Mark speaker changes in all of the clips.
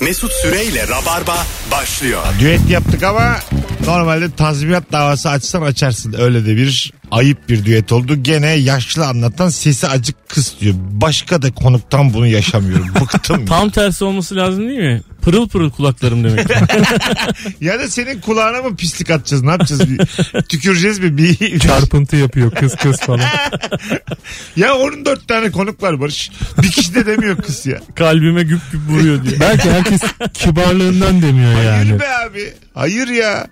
Speaker 1: Mesut Süreyle Rabarba başlıyor.
Speaker 2: Düet yaptık ama normalde tazminat davası açsan açarsın. Öyle de bir ayıp bir düet oldu. Gene yaşlı anlatan sesi acık kıs diyor. Başka da konuktan bunu yaşamıyorum. Bıktım. ya.
Speaker 3: Tam tersi olması lazım değil mi? Pırıl pırıl kulaklarım demek.
Speaker 2: ya da senin kulağına mı pislik atacağız? Ne yapacağız? Bir, tüküreceğiz mi? Bir,
Speaker 4: Çarpıntı yapıyor kız kız falan.
Speaker 2: ya onun dört tane konuk var Barış. Bir kişi de demiyor kız ya.
Speaker 3: Kalbime güp güp vuruyor diye.
Speaker 4: Belki herkes kibarlığından demiyor yani.
Speaker 2: Hayır be abi. Hayır ya.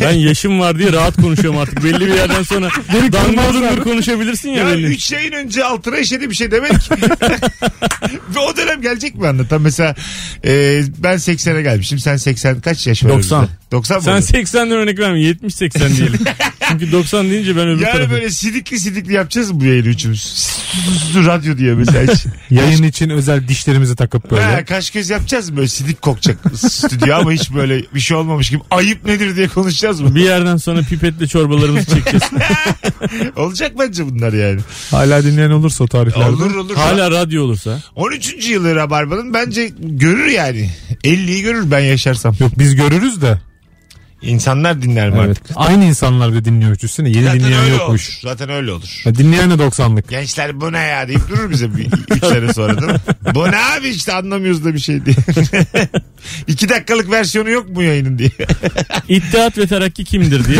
Speaker 3: Ben yaşım var diye rahat konuşuyorum artık. Belli bir yerden sonra dangır dungur konuşabilirsin ya,
Speaker 2: Ya
Speaker 3: belli.
Speaker 2: 3 yayın önce altına işedi bir şey demek. Ve o dönem gelecek mi anlatan? Mesela e, ben 80'e gelmişim. Sen 80 kaç yaş var?
Speaker 3: 90.
Speaker 2: aramızda? 90 mı?
Speaker 3: Sen
Speaker 2: oluyor?
Speaker 3: 80'den örnek verme. 70-80 diyelim. Çünkü 90 deyince ben öbür
Speaker 2: Yani
Speaker 3: tarafa.
Speaker 2: böyle sidikli sidikli yapacağız mı bu yayını üçümüz? Radyo diye mesela. hiç.
Speaker 4: Yayın için özel dişlerimizi takıp
Speaker 2: ha,
Speaker 4: böyle.
Speaker 2: kaş göz yapacağız mı böyle sidik kokacak stüdyo ama hiç böyle bir şey olmamış gibi ayıp nedir diye konuşacağız mı?
Speaker 3: Bir yerden sonra pipetle çorbalarımızı çekeceğiz.
Speaker 2: Olacak bence bunlar yani.
Speaker 4: Hala dinleyen olursa o tarihlerde.
Speaker 2: Olur olur.
Speaker 3: Hala radyo olursa.
Speaker 2: 13. yılı Rabarba'nın bence görür yani. 50'yi görür ben yaşarsam.
Speaker 4: Yok biz görürüz de.
Speaker 2: İnsanlar dinler mi
Speaker 4: Evet.
Speaker 2: artık?
Speaker 4: Aynı insanlar da dinliyor üçüsünü. Yeni dinleyen
Speaker 2: öyle
Speaker 4: yokmuş.
Speaker 2: olur. Zaten öyle olur.
Speaker 4: Ya dinleyen de 90'lık.
Speaker 2: Gençler bu ne ya deyip durur bize bir, üç sene sonra değil mi? Bu ne abi işte anlamıyoruz da bir şey diye. İki dakikalık versiyonu yok mu yayının diye.
Speaker 3: İttihat ve terakki kimdir diye.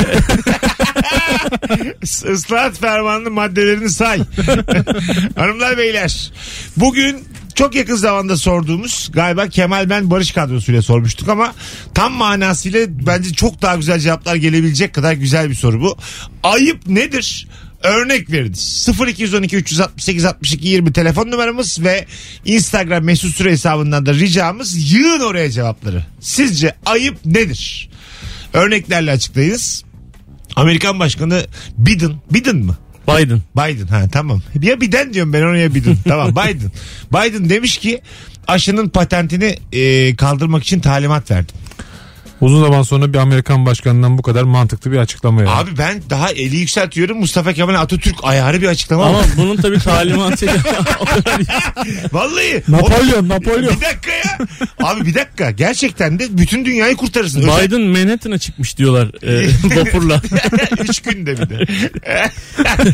Speaker 2: Is- Islahat fermanının maddelerini say. Hanımlar beyler. Bugün çok yakın zamanda sorduğumuz galiba Kemal Ben Barış kadrosuyla sormuştuk ama tam manasıyla bence çok daha güzel cevaplar gelebilecek kadar güzel bir soru bu. Ayıp nedir? Örnek veriniz. 0212 368 62 20 telefon numaramız ve Instagram mesut süre hesabından da ricamız yığın oraya cevapları. Sizce ayıp nedir? Örneklerle açıklayınız. Amerikan Başkanı Biden. Biden mı?
Speaker 3: Biden.
Speaker 2: Biden ha tamam. Ya Biden diyorum ben oraya Biden. tamam Biden. Biden demiş ki aşının patentini e, kaldırmak için talimat verdim.
Speaker 4: Uzun zaman sonra bir Amerikan başkanından bu kadar mantıklı bir açıklama yani.
Speaker 2: Abi ben daha eli yükseltiyorum. Mustafa Kemal Atatürk ayarı bir açıklama.
Speaker 3: Ama
Speaker 2: var.
Speaker 3: bunun tabii talimatı.
Speaker 2: Vallahi.
Speaker 4: Napolyon,
Speaker 2: O-
Speaker 4: Napolyon.
Speaker 2: bir dakika ya. Abi bir dakika. Gerçekten de bütün dünyayı kurtarırsın. Özel-
Speaker 3: Biden Manhattan'a çıkmış diyorlar e, vapurla.
Speaker 2: Üç günde bir de.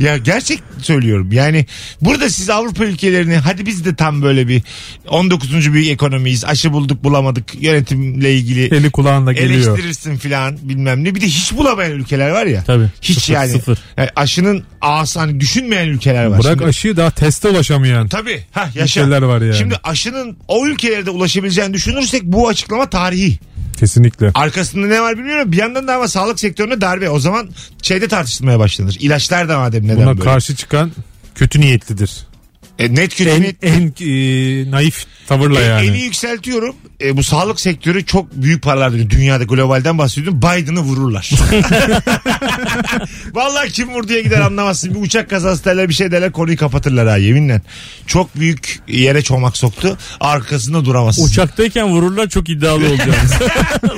Speaker 2: ya gerçek söylüyorum. Yani burada siz Avrupa ülkelerini hadi biz de tam böyle bir 19. büyük ekonomiyiz. Aşı bulduk bulamadık. Yönetimle ilgili
Speaker 4: Eli kulağında geliyor.
Speaker 2: eleştirirsin filan bilmem ne. Bir de hiç bulamayan ülkeler var ya.
Speaker 3: Tabii.
Speaker 2: Hiç
Speaker 3: Sıfır,
Speaker 2: yani.
Speaker 3: Sıfır.
Speaker 2: Yani aşının ağası hani düşünmeyen ülkeler var.
Speaker 4: Bırak
Speaker 2: Şimdi-
Speaker 4: aşıyı daha teste ulaşamayan.
Speaker 2: Tabii. Ha yaşa.
Speaker 4: Ülkeler var yani.
Speaker 2: Şimdi aşının o ülkelerde ulaşabileceğini düşünürsek bu açıklama tarihi.
Speaker 4: Kesinlikle.
Speaker 2: Arkasında ne var bilmiyorum. Bir yandan da ama sağlık sektörüne darbe. O zaman şeyde tartışılmaya başlanır. İlaçlar da madem neden
Speaker 4: Buna
Speaker 2: böyle.
Speaker 4: karşı çıkan kötü niyetlidir.
Speaker 2: E, net kötü
Speaker 4: En,
Speaker 2: net-
Speaker 4: en e, naif tavırla
Speaker 2: E, Eli
Speaker 4: yani.
Speaker 2: yükseltiyorum. E, bu sağlık sektörü çok büyük paralar dönüyor. Dünyada globalden bahsediyorum. Biden'ı vururlar. Vallahi kim vur diye gider anlamazsın. Bir uçak kazası derler bir şey derler konuyu kapatırlar ha yeminle. Çok büyük yere çomak soktu. Arkasında duramazsın.
Speaker 3: Uçaktayken vururlar çok iddialı olacağız.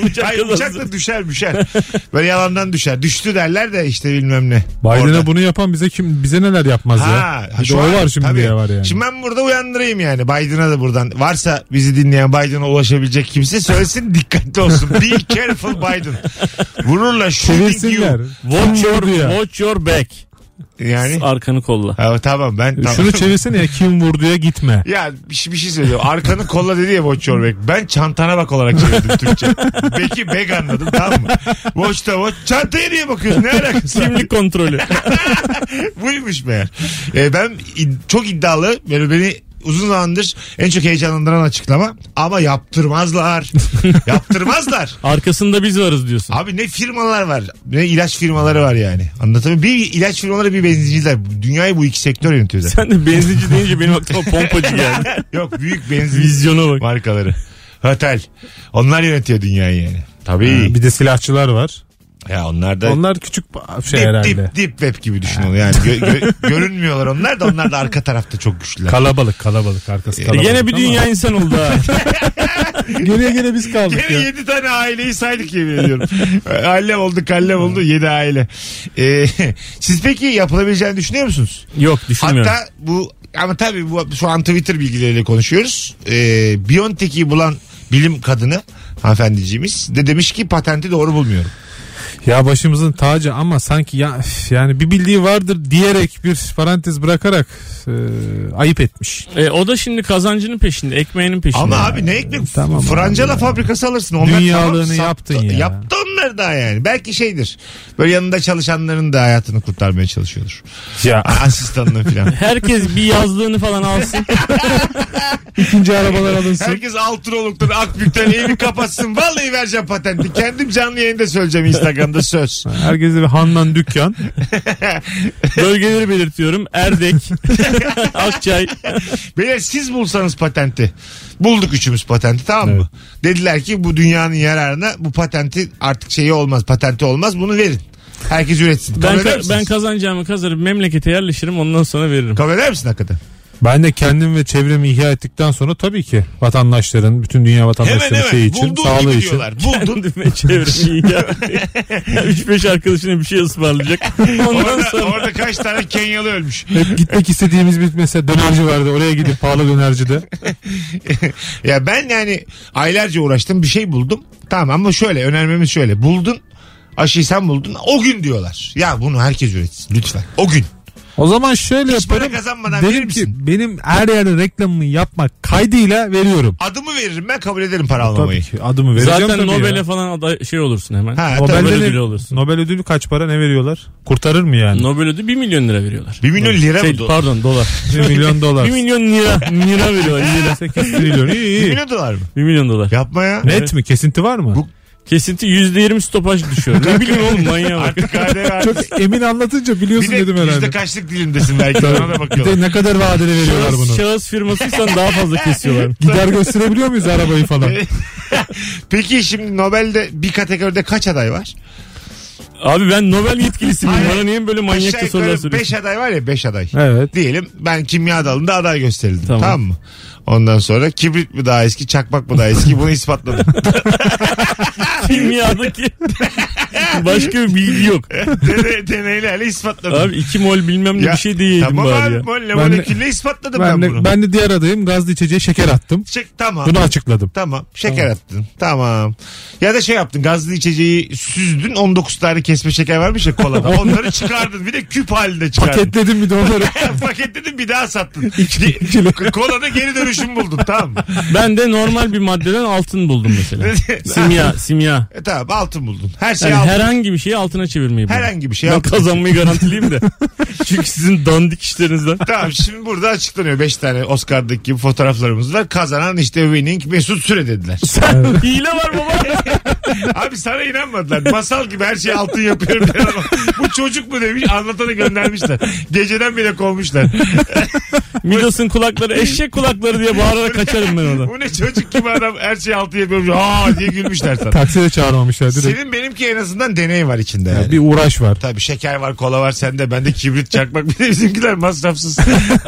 Speaker 3: Uçak
Speaker 2: Ay,
Speaker 3: kazası.
Speaker 2: uçak da düşer düşer. Böyle yalandan düşer. Düştü derler de işte bilmem ne. Orada.
Speaker 4: Biden'a bunu yapan bize kim bize neler yapmaz
Speaker 2: Ha,
Speaker 4: ya. Bir de
Speaker 2: şu
Speaker 4: o
Speaker 2: an-
Speaker 4: var şimdi
Speaker 2: tabii.
Speaker 4: ya var yani.
Speaker 2: Şimdi ben burada uyandırayım yani. Biden'a da buradan. Varsa bizi dinleyen Biden'a ulaşabilecek kimse söylesin dikkatli olsun. Be careful Biden. Vururla shooting you.
Speaker 4: Çevirsinler.
Speaker 3: Watch
Speaker 4: Kim
Speaker 3: your,
Speaker 4: vurdu ya?
Speaker 3: watch your back.
Speaker 2: Yani.
Speaker 3: Arkanı kolla.
Speaker 2: Ha, tamam ben tamam.
Speaker 4: Şunu çevirsene ya kim vurduya gitme.
Speaker 2: Ya bir, şey- bir şey söylüyorum. Arkanı kolla dedi ya Watch Your Back. Ben çantana bak olarak çevirdim Türkçe. Beki beg anladım tamam mı? Watch da watch. Çantaya niye bakıyorsun? Ne alakası var?
Speaker 3: Kimlik kontrolü.
Speaker 2: Buymuş meğer. Ee, ben id- çok iddialı. Böyle beni uzun zamandır en çok heyecanlandıran açıklama. Ama yaptırmazlar. yaptırmazlar.
Speaker 3: Arkasında biz varız diyorsun.
Speaker 2: Abi ne firmalar var. Ne ilaç firmaları var yani. Anlatabiliyor muyum? Bir ilaç firmaları bir benzinciler. Dünyayı bu iki sektör yönetiyor zaten.
Speaker 3: Sen de benzinci deyince benim aklıma pompacı geldi.
Speaker 2: Yok büyük benzinci
Speaker 3: Vizyona bak.
Speaker 2: markaları. Otel. Onlar yönetiyor dünyayı yani. Tabii.
Speaker 4: Bir de silahçılar var.
Speaker 2: Ya onlar da
Speaker 4: Onlar küçük ba- şey
Speaker 2: dip,
Speaker 4: herhalde.
Speaker 2: dip dip web gibi düşün onu yani. Gö- gö- görünmüyorlar onlar da onlar da arka tarafta çok güçlüler.
Speaker 4: Kalabalık kalabalık
Speaker 2: E,
Speaker 4: arkası kalabalık.
Speaker 3: Yine E bir
Speaker 4: ama
Speaker 3: dünya insan oldu ha.
Speaker 4: Geriye gene biz kaldık
Speaker 2: Gene
Speaker 4: ya.
Speaker 2: 7 tane aileyi saydık yemin ediyorum. Allem oldu kallem oldu 7 aile. Ee, siz peki yapılabileceğini düşünüyor musunuz?
Speaker 3: Yok düşünmüyorum.
Speaker 2: Hatta bu ama tabii bu, şu an Twitter bilgileriyle konuşuyoruz. Ee, Biontech'i bulan bilim kadını hanımefendiciğimiz de demiş ki patenti doğru bulmuyorum.
Speaker 4: Ya başımızın tacı ama sanki ya üf, yani bir bildiği vardır diyerek bir parantez bırakarak e, ayıp etmiş.
Speaker 3: E, o da şimdi kazancının peşinde, ekmeğinin peşinde.
Speaker 2: Ama abi ne ekmek
Speaker 4: Tamam
Speaker 2: francala fabrikası alırsın. Onlar
Speaker 4: Dünyalığını
Speaker 2: tamam,
Speaker 4: yaptın
Speaker 2: sattı-
Speaker 4: ya.
Speaker 2: Yaptı onları daha yani. Belki şeydir. Böyle yanında çalışanların da hayatını kurtarmaya çalışıyordur.
Speaker 4: Ya
Speaker 2: Asistanını falan.
Speaker 3: Herkes bir yazlığını falan alsın.
Speaker 4: ikinci arabalar alınsın.
Speaker 2: Herkes Altınoluk'tan, Akbük'ten evi kapatsın. Vallahi vereceğim patenti. Kendim canlı yayında söyleyeceğim Instagram'da söz.
Speaker 4: Herkese bir handan dükkan.
Speaker 3: Bölgeleri belirtiyorum. Erdek, Akçay.
Speaker 2: Beyler siz bulsanız patenti. Bulduk üçümüz patenti tamam mı? Dediler ki bu dünyanın yararına bu patenti artık şeyi olmaz. Patenti olmaz bunu verin. Herkes üretsin. Kabul
Speaker 3: Ben,
Speaker 2: eder
Speaker 3: ka-
Speaker 2: misiniz?
Speaker 3: ben kazanacağımı kazarım. Memlekete yerleşirim. Ondan sonra veririm.
Speaker 2: Kabul eder misin hakikaten?
Speaker 4: Ben de kendim ve çevremi ihya ettikten sonra tabii ki vatandaşların, bütün dünya
Speaker 2: Hemen
Speaker 4: vatandaşlarının
Speaker 2: hemen.
Speaker 4: şeyi şey için,
Speaker 2: Bulduğun gibi
Speaker 4: sağlığı için.
Speaker 2: diyorlar. Buldun.
Speaker 3: Kendime çevireyim ya. 3-5 arkadaşına bir şey ısmarlayacak. Ondan
Speaker 2: Orada,
Speaker 3: sonra
Speaker 2: orada kaç tane Kenyalı ölmüş.
Speaker 4: Hep gitmek istediğimiz bir mesela dönerci vardı. Oraya gidip pahalı dönercide.
Speaker 2: ya ben yani aylarca uğraştım bir şey buldum. Tamam ama şöyle önermemiz şöyle. Buldun aşıyı sen buldun o gün diyorlar. Ya bunu herkes üretsin lütfen. O gün.
Speaker 4: O zaman şöyle
Speaker 2: Hiç para
Speaker 4: yaparım.
Speaker 2: kazanmadan verir
Speaker 4: Derim
Speaker 2: misin?
Speaker 4: ki benim her yerde reklamımı yapmak kaydıyla veriyorum.
Speaker 2: Adımı veririm ben kabul ederim para
Speaker 4: E, Tabii
Speaker 2: almamayı.
Speaker 4: ki adımı vereceğim
Speaker 3: zaten
Speaker 4: tabii
Speaker 3: Nobel'e
Speaker 4: ya.
Speaker 3: falan aday şey olursun hemen.
Speaker 2: Ha,
Speaker 4: Nobel'de
Speaker 2: tabii.
Speaker 3: Nobel
Speaker 4: ne-
Speaker 3: ödülü olursun.
Speaker 4: Nobel ödülü kaç para ne veriyorlar? Kurtarır mı yani?
Speaker 3: Nobel ödülü 1 milyon lira veriyorlar.
Speaker 2: 1 milyon lira
Speaker 3: Şey,
Speaker 2: mı? dolar?
Speaker 3: pardon dolar.
Speaker 4: Bir milyon dolar.
Speaker 3: 1 milyon lira. Lira veriyorlar. Lira.
Speaker 4: 8 trilyon. İyi
Speaker 2: Bir
Speaker 4: iyi.
Speaker 2: milyon dolar mı?
Speaker 3: 1 milyon dolar.
Speaker 2: Yapma ya.
Speaker 4: Net mi? Kesinti var mı?
Speaker 2: Bu-
Speaker 3: Kesinti %20 stopaj düşüyor. ne bileyim oğlum manyağa bak.
Speaker 2: Artık KDV artık.
Speaker 4: Çok emin anlatınca biliyorsun
Speaker 2: Bir de
Speaker 4: dedim herhalde.
Speaker 2: yüzde kaçlık dilimdesin belki ona da
Speaker 4: Bir
Speaker 2: bakıyorlar.
Speaker 4: de ne kadar vadeli veriyorlar
Speaker 3: Şahıs,
Speaker 4: bunu.
Speaker 3: şahıs firmasıysan daha fazla kesiyorlar.
Speaker 4: Gider gösterebiliyor muyuz arabayı falan?
Speaker 2: Peki şimdi Nobel'de bir kategoride kaç aday var?
Speaker 3: Abi ben Nobel yetkilisi miyim? Bana niye böyle
Speaker 2: Aşağı
Speaker 3: manyakça sorular
Speaker 2: yukarı 5
Speaker 3: soruyorsun?
Speaker 2: aday var ya 5 aday.
Speaker 4: Evet.
Speaker 2: Diyelim ben kimya dalında aday gösterildim. Tamam.
Speaker 3: Tamam.
Speaker 2: mı? Ondan sonra kibrit mi daha eski, çakmak mı daha eski bunu ispatladım.
Speaker 3: Kimyadaki başka bir bilgi yok.
Speaker 2: Dene, deneylerle ispatladım.
Speaker 3: Abi 2 mol bilmem ne
Speaker 2: Ya,
Speaker 3: bir şey de yedim
Speaker 2: tamam
Speaker 3: bari
Speaker 2: abi
Speaker 3: ya.
Speaker 2: molle
Speaker 4: Ben de-
Speaker 2: molekülle ispatladım ben,
Speaker 4: Ben
Speaker 2: bunu.
Speaker 4: de, ben de diğer adayım gazlı içeceğe şeker attım.
Speaker 2: Çek, tamam.
Speaker 4: Bunu açıkladım.
Speaker 2: Tamam şeker attın tamam ya da şey yaptın gazlı içeceği süzdün 19 tane kesme şeker varmış ya kolada onları çıkardın bir de küp halinde çıkardın
Speaker 4: Paketledim bir de onları.
Speaker 2: paketledin bir daha sattın kolada geri dönüşüm buldun tamam mı?
Speaker 3: Ben de normal bir maddeden altın buldum mesela. simya, simya.
Speaker 2: E, tamam altın buldun her şey
Speaker 3: Yani
Speaker 2: altın
Speaker 3: herhangi bir şeyi altına çevirmeyi buldum.
Speaker 2: herhangi bir şey
Speaker 3: ben
Speaker 2: altın.
Speaker 3: kazanmayı garantileyim de. Çünkü sizin dandik işlerinizden.
Speaker 2: Tamam şimdi burada açıklanıyor 5 tane Oscar'daki gibi fotoğraflarımız var. Kazanan işte winning Mesut Süre dediler.
Speaker 3: Hile var baba.
Speaker 2: Abi sana inanmadılar. Masal gibi her şeyi altın yapıyorum diye ama bu çocuk mu demiş anlatanı göndermişler. Geceden bile kovmuşlar.
Speaker 3: Midas'ın kulakları eşek kulakları diye bağırarak kaçarım ben oradan.
Speaker 2: bu ne çocuk gibi adam her şeyi altın yapıyorum. Ha diye gülmüşler sana.
Speaker 4: Taksiye de çağırmamışlar direkt.
Speaker 2: Senin benimki en azından deney var içinde. Yani.
Speaker 4: Bir uğraş var.
Speaker 2: Tabii şeker var, kola var sende. Bende kibrit çakmak. Bir de bizimkiler masrafsız.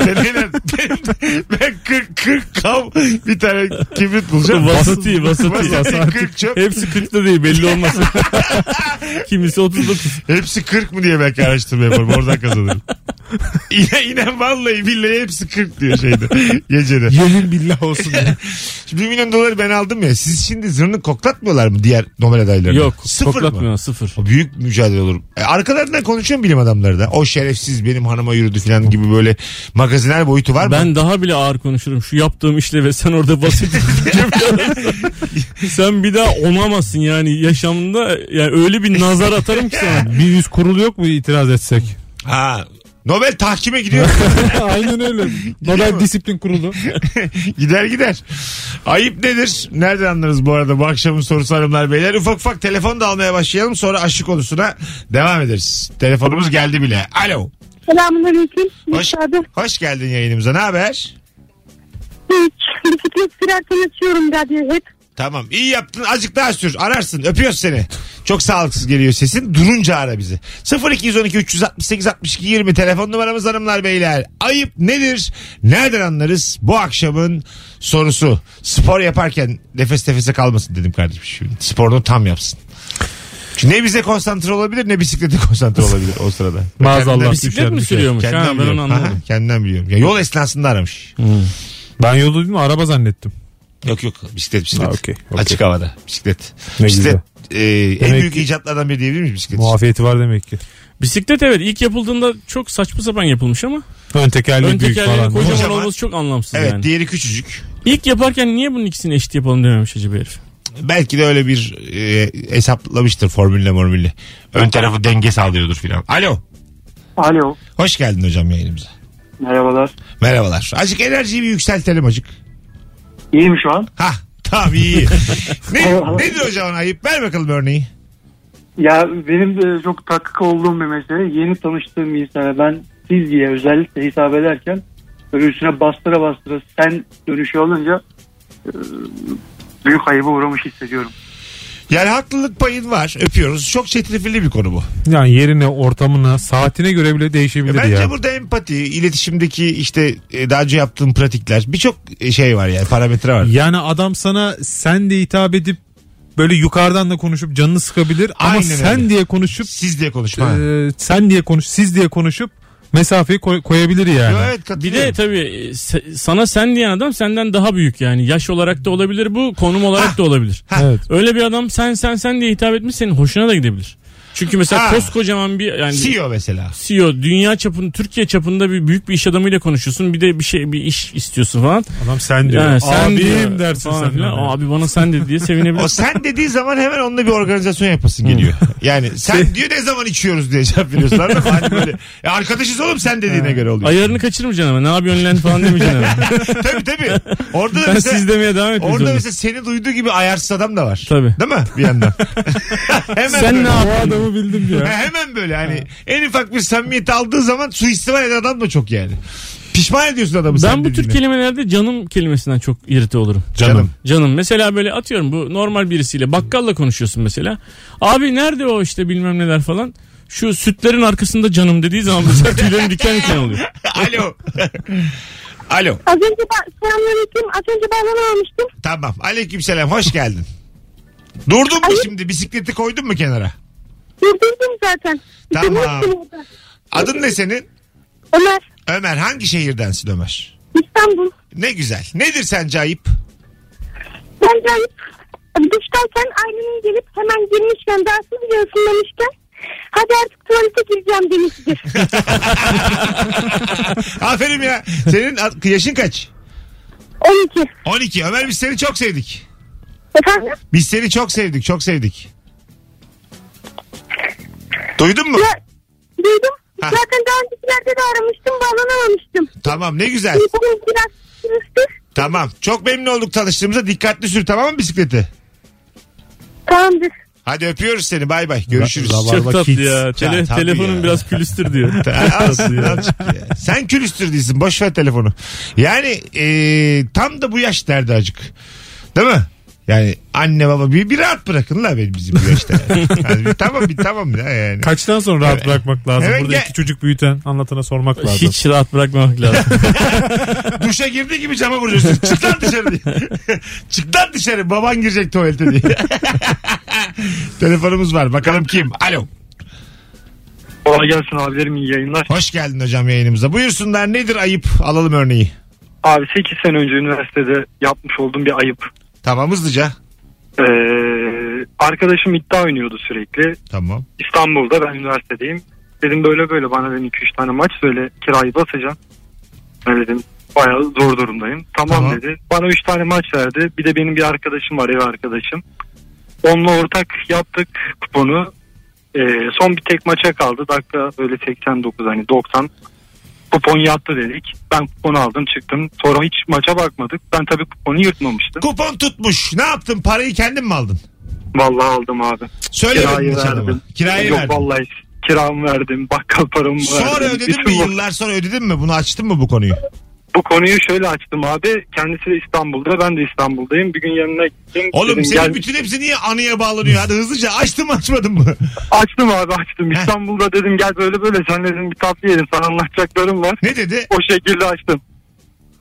Speaker 2: Deneyler. Benim- ben 40, 40 kav bir tane kibrit bulacağım.
Speaker 3: Vasati, vasati.
Speaker 2: Vasati 40 çöp.
Speaker 3: Hepsi 40'ta değil belli olmaz. Kimisi 39.
Speaker 2: Hepsi 40 mı diye belki araştırma yaparım. Oradan kazanırım. İnan, inan vallahi billahi hepsi 40 diyor şeyde. Gecede.
Speaker 4: Yemin billah olsun.
Speaker 2: Şimdi 1 milyon doları ben aldım ya. Siz şimdi zırnık koklatmıyorlar mı diğer Nobel adaylarına?
Speaker 3: Yok
Speaker 2: Sıfır
Speaker 3: koklatmıyor
Speaker 2: mı?
Speaker 3: sıfır.
Speaker 2: O büyük mücadele olur. E, arkalarından konuşuyorum bilim adamları da. O şerefsiz benim hanıma yürüdü falan gibi böyle magaziner boyutu var mı?
Speaker 3: Ben daha bile ağır konuşurum. Şu yaptığım işle ve sen orada basit. sen bir daha onamazsın yani yaşamında yani öyle bir nazar atarım ki sana.
Speaker 4: bir yüz kurulu yok mu itiraz etsek?
Speaker 2: Ha. Nobel tahkime gidiyor.
Speaker 4: Aynen öyle.
Speaker 2: Gidiyor mu?
Speaker 4: Nobel Disiplin Kurulu.
Speaker 2: gider gider. Ayıp nedir? Nereden anlarız bu arada bu akşamın sorusu hanımlar beyler? Ufak ufak telefon da almaya başlayalım sonra aşı konusuna devam ederiz. Telefonumuz geldi bile. Alo.
Speaker 5: Selamünaleyküm.
Speaker 2: Hoş,
Speaker 5: Müsaade.
Speaker 2: hoş geldin yayınımıza. Ne haber?
Speaker 5: Hiç. Bisiklet sürerken açıyorum radyoyu hep.
Speaker 2: Tamam iyi yaptın azıcık daha sür ararsın öpüyoruz seni. Çok sağlıksız geliyor sesin durunca ara bizi. 0212 368 62 20 telefon numaramız hanımlar beyler. Ayıp nedir nereden anlarız bu akşamın sorusu. Spor yaparken nefes nefese kalmasın dedim kardeşim şimdi. Sporunu tam yapsın. Çünkü ne bize konsantre olabilir ne bisiklete konsantre olabilir o sırada.
Speaker 4: Maazallah.
Speaker 3: Bisiklet mi sürüyormuş? Ha, ben onu
Speaker 2: biliyorum.
Speaker 3: anladım.
Speaker 2: Aha, Kendimden biliyorum. Ya yol esnasında aramış.
Speaker 4: Ben yolda dedim araba zannettim.
Speaker 2: Yok yok bisiklet bisiklet.
Speaker 4: Ha, okey, okey.
Speaker 2: Açık havada bisiklet.
Speaker 4: Ne
Speaker 2: bisiklet
Speaker 4: güzel.
Speaker 2: e, en
Speaker 4: Demek
Speaker 2: büyük
Speaker 4: ki-
Speaker 2: icatlardan biri diyebilir miyiz bisiklet?
Speaker 4: Muafiyeti var demek ki.
Speaker 3: Bisiklet evet ilk yapıldığında çok saçma sapan yapılmış ama
Speaker 4: Ön tekerleği
Speaker 3: ön
Speaker 4: büyük
Speaker 3: tekerleğin
Speaker 4: falan.
Speaker 3: kocaman
Speaker 2: Kocaman.
Speaker 3: olması çok anlamsız
Speaker 2: Evet
Speaker 3: yani.
Speaker 2: diğeri küçücük.
Speaker 3: İlk yaparken niye bunun ikisini eşit yapalım dememiş acaba herif?
Speaker 2: Belki de öyle bir e, hesaplamıştır formülle mormülle. Ön tarafı denge sağlıyordur filan. Alo.
Speaker 6: Alo.
Speaker 2: Hoş geldin hocam yayınımıza.
Speaker 6: Merhabalar.
Speaker 2: Merhabalar. Azıcık enerjiyi bir yükseltelim acık.
Speaker 6: İyiyim şu an.
Speaker 2: Hah tamam iyi. ne, nedir hocam ayıp? Ver bakalım örneği.
Speaker 6: Ya benim de çok takık olduğum bir mesele. Yeni tanıştığım bir insana ben siz diye özellikle hitap ederken böyle üstüne bastıra bastıra sen dönüşü olunca e, büyük ayıba uğramış hissediyorum.
Speaker 2: Yani haklılık payın var. Öpüyoruz. Çok çetrefilli bir konu bu.
Speaker 4: Yani yerine, ortamına, saatine göre bile değişebilir
Speaker 2: E Bence
Speaker 4: ya.
Speaker 2: burada empati, iletişimdeki işte e, daha önce yaptığım pratikler birçok e, şey var yani parametre var.
Speaker 4: Yani adam sana sen de hitap edip böyle yukarıdan da konuşup canını sıkabilir ama
Speaker 2: Aynen
Speaker 4: sen
Speaker 2: öyle.
Speaker 4: diye konuşup
Speaker 2: Siz diye konuşma.
Speaker 4: e, sen diye konuş siz diye konuşup mesafeyi koy- koyabilir yani.
Speaker 2: Yo, evet
Speaker 3: Bir de
Speaker 2: katılıyorum.
Speaker 3: tabii e, se- sana sen diyen adam senden daha büyük yani. Yaş olarak da olabilir bu, konum olarak da olabilir.
Speaker 4: Evet.
Speaker 3: Öyle bir adam sen sen sen diye hitap etmiş senin hoşuna da gidebilir. Çünkü mesela
Speaker 2: Ha.
Speaker 3: koskocaman bir yani
Speaker 4: E
Speaker 2: CEO E mesela.
Speaker 3: CEO, dünya çapında Türkiye çapında bir büyük bir iş adamıyla konuşuyorsun. Bir de bir şey bir iş istiyorsun falan.
Speaker 4: Adam sen diyor.
Speaker 3: Yani sen
Speaker 4: Abim
Speaker 3: diyor
Speaker 4: dersin
Speaker 3: falan
Speaker 4: sen.
Speaker 3: filan. Abi bana sen dedi diye
Speaker 2: O
Speaker 3: sevinebilirsin.
Speaker 2: sen dediği zaman hemen onunla bir organizasyon yapasın geliyor.
Speaker 3: Hmm.
Speaker 2: Yani sen diyor ne zaman içiyoruz diye cevap veriyorsun. anladın mı? Hani böyle, "E, arkadaşız oğlum sen dediğine göre oluyor.
Speaker 3: Ayarını kaçırmayacaksın ama ne yapıyorsun lan falan demeyeceksin ama.
Speaker 2: tabii tabii. Orada da
Speaker 3: Ben
Speaker 2: mesela,
Speaker 3: siz demeye devam etmek
Speaker 2: orada
Speaker 3: zorundayım.
Speaker 2: mesela seni duyduğu gibi ayarsız adam da var.
Speaker 3: Tabii.
Speaker 2: Değil mi bir yandan? hemen
Speaker 3: Sen
Speaker 2: böyle.
Speaker 3: ne yapıyorsun?
Speaker 4: Adamı bildim
Speaker 2: Ha,
Speaker 4: ya.
Speaker 2: Hemen böyle hani en ufak bir samimiyet aldığı zaman suistimal eden adam da çok yani. Pişman ediyorsun adamı sen
Speaker 3: Ben bu tür
Speaker 2: dediğine.
Speaker 3: kelimelerde canım kelimesinden çok irite olurum.
Speaker 2: Canım.
Speaker 3: Canım mesela böyle atıyorum bu normal birisiyle bakkalla konuşuyorsun mesela. Abi nerede o işte bilmem neler falan. Şu sütlerin arkasında canım dediği zaman mesela tüylerim diken diken oluyor.
Speaker 2: Alo. Alo.
Speaker 5: Az önce ben selamünaleyküm. Az önce ben onu almıştım.
Speaker 2: Tamam. Aleykümselam. Hoş geldin. Durdun mu şimdi? Bisikleti koydun mu kenara?
Speaker 5: Durdurdum zaten.
Speaker 2: Tamam.
Speaker 5: Durdurmuştum orada.
Speaker 2: Adın ne senin?
Speaker 5: Ömer
Speaker 2: Ömer. Hangi şehirdensin Ömer?
Speaker 5: İstanbul.
Speaker 2: Ne güzel. Nedir sence ayıp?
Speaker 5: Ben de ayıp. Duştayken ailenin gelip hemen girmişken dersi bile ısınmamışken hadi artık tuvalete gireceğim demiştir.
Speaker 2: Aferin ya. Senin ad- yaşın kaç?
Speaker 5: 12.
Speaker 2: 12. Ömer biz seni çok sevdik.
Speaker 5: Efendim?
Speaker 2: Biz seni çok sevdik. Çok sevdik. Duydun mu?
Speaker 5: Ya, duydum.
Speaker 2: Ha.
Speaker 5: Zaten daha öncekilerde de aramıştım bağlanamamıştım.
Speaker 2: Tamam ne güzel.
Speaker 5: Bugün biraz sürüştür.
Speaker 2: Tamam. Çok memnun olduk tanıştığımıza. Dikkatli sür tamam mı bisikleti?
Speaker 5: Tamamdır.
Speaker 2: Hadi öpüyoruz seni. Bay bay. Görüşürüz.
Speaker 3: Çok
Speaker 4: Barba
Speaker 3: tatlı
Speaker 4: Kids.
Speaker 3: ya. Tele-
Speaker 2: Ya, tabii
Speaker 3: telefonum
Speaker 2: ya.
Speaker 3: biraz külüstür diyor.
Speaker 2: Alsın, azıcık ya. Sen külüstür değilsin. Boş ver telefonu. Yani e, tam da bu yaş derdi acık. Değil mi? Yani anne baba bir, bir rahat bırakın la beni bizim bu yaşta. Yani. Yani bir tamam bir tamam ya yani.
Speaker 4: Kaçtan sonra rahat bırakmak lazım?
Speaker 2: Evet,
Speaker 4: Burada
Speaker 2: gel.
Speaker 4: iki çocuk büyüten anlatana sormak lazım.
Speaker 3: Hiç rahat bırakmamak lazım.
Speaker 2: Duşa girdiği gibi cama vuruyorsun. Çık lan dışarı diye. Çık lan dışarı baban girecek tuvalete diye. Telefonumuz var. Bakalım kim? Alo.
Speaker 6: Kolay gelsin abilerim iyi yayınlar.
Speaker 2: Hoş geldin hocam yayınımıza. Buyursunlar nedir ayıp? Alalım örneği.
Speaker 6: Abi 8 sene önce üniversitede yapmış olduğum bir ayıp.
Speaker 2: Tamam hızlıca.
Speaker 6: Ee, arkadaşım iddia oynuyordu sürekli.
Speaker 2: Tamam.
Speaker 6: İstanbul'da ben üniversitedeyim. Dedim böyle böyle bana dedim 2-3 tane maç söyle kirayı basacağım. Ben dedim bayağı zor durumdayım. Tamam,
Speaker 2: Tamam.
Speaker 6: dedi. Bana 3 tane maç verdi. Bir de benim bir arkadaşım var ev arkadaşım. Onunla ortak yaptık kuponu. Ee, son bir tek maça kaldı. Dakika böyle 89 hani 90. Kupon yattı dedik. Ben kuponu aldım çıktım. Sonra hiç maça bakmadık. Ben tabii kuponu yırtmamıştım.
Speaker 2: Kupon tutmuş. Ne yaptın? Parayı kendin mi aldın?
Speaker 6: Vallahi aldım abi.
Speaker 2: Söylemedin
Speaker 6: Kirayı
Speaker 2: hiç adama.
Speaker 6: verdim.
Speaker 2: Kirayı
Speaker 6: Yok
Speaker 2: verdin.
Speaker 6: vallahi kiramı verdim. Bakkal paramı verdim.
Speaker 2: Sonra ödedin mi?
Speaker 6: Bütün bu-
Speaker 2: Yıllar sonra ödedin mi? Bunu açtın mı bu konuyu?
Speaker 6: Bu konuyu şöyle açtım abi. Kendisi de İstanbul'da ben de İstanbul'dayım. Bir gün yanına gittim.
Speaker 2: Oğlum
Speaker 6: Dedim,
Speaker 2: senin
Speaker 6: gel-
Speaker 2: bütün hepsi niye anıya bağlanıyor? Hadi hızlıca açtın mı açmadın mı?
Speaker 6: Açtım abi açtım.
Speaker 2: Heh.
Speaker 6: İstanbul'da dedim gel böyle böyle sen dedim bir tatlı yiyelim sana anlatacaklarım var.
Speaker 2: Ne dedi?
Speaker 6: O şekilde açtım.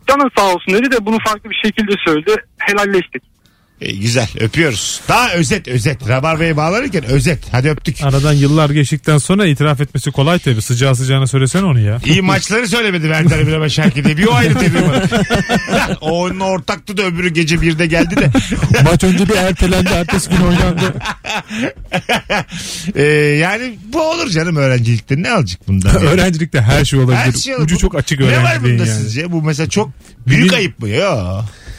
Speaker 6: Canım sağ olsun dedi de bunu farklı bir şekilde söyledi. Helalleştik.
Speaker 2: E, güzel öpüyoruz. Daha özet özet. Rabarbaya bağlanırken özet. Hadi öptük.
Speaker 4: Aradan yıllar geçtikten sonra itiraf etmesi kolay tabii. Sıcağı sıcağına söylesene onu ya.
Speaker 2: İyi maçları söylemedi Werder Bremen Schalke diye. Bir o ayrı tebrik bana. o onun ortaktı da öbürü gece birde geldi de.
Speaker 7: Maç önce bir ertelendi. Ertesi gün oynandı.
Speaker 2: E, yani bu olur canım öğrencilikte. Ne alacak bundan? yani?
Speaker 4: Öğrencilikte her şey olabilir.
Speaker 2: Her şey olur.
Speaker 4: Ucu
Speaker 2: Bu-
Speaker 4: çok açık
Speaker 2: Ne var
Speaker 4: öğrenciliğin
Speaker 2: bunda
Speaker 4: yani.
Speaker 2: sizce? Bu mesela çok büyük
Speaker 4: Bil-
Speaker 2: ayıp mı? Yo.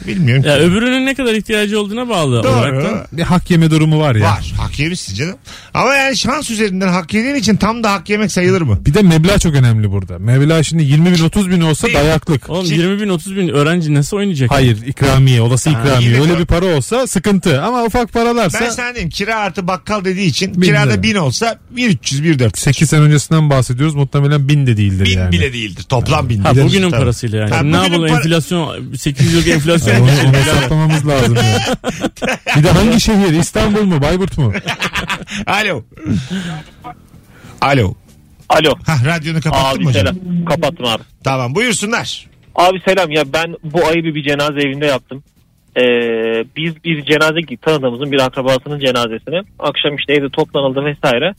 Speaker 2: Bilmiyorum.
Speaker 3: Ya öbürünün ne kadar ihtiyacı olduğuna bağlı olarak da.
Speaker 2: Doğru.
Speaker 4: Bir hak yeme durumu var ya.
Speaker 2: Var. Hak yemişsin canım. Ama yani şans üzerinden hak yediğin için tam da hak yemek sayılır mı?
Speaker 4: Bir de meblağ çok önemli burada. Meblağ şimdi 20 bin 30 bin olsa
Speaker 2: Değil.
Speaker 4: dayaklık.
Speaker 3: Oğlum
Speaker 2: Şimdi-
Speaker 3: 20 bin 30 bin öğrenci nasıl oynayacak?
Speaker 4: Hayır ikramiye olası
Speaker 2: yine
Speaker 4: ikramiye.
Speaker 2: de-
Speaker 4: Öyle bir para olsa sıkıntı ama ufak paralarsa
Speaker 2: Ben sana diyeyim kira artı bakkal dediği için
Speaker 4: Bin
Speaker 2: kirada
Speaker 4: lira.
Speaker 2: 1000 olsa 1300 1400.
Speaker 4: 8 sene öncesinden bahsediyoruz muhtemelen bin de değildir
Speaker 2: 1000
Speaker 4: yani.
Speaker 2: bile değildir. Toplam 1000
Speaker 3: Ha
Speaker 2: lira.
Speaker 3: bugünün
Speaker 2: Tabii.
Speaker 3: parasıyla yani.
Speaker 2: Ha,
Speaker 3: ne
Speaker 2: bugünün
Speaker 3: yapalım
Speaker 2: para-
Speaker 3: enflasyon 8 yıllık enflasyon.
Speaker 4: Yani onu, onu hesaplamamız lazım. ya. Bir de hangi şehir? İstanbul mu? Bayburt mu?
Speaker 2: Alo. Alo.
Speaker 8: Alo.
Speaker 2: Hah radyonu kapattın
Speaker 8: Abi
Speaker 2: mı hocam?
Speaker 8: selam. Kapattım abi.
Speaker 2: Tamam buyursunlar.
Speaker 8: Abi selam ya ben bu ayıbı bir cenaze evinde yaptım. Ee, biz bir cenaze gittik tanıdığımızın bir akrabasının cenazesine. Akşam işte evde toplanıldı vesaire.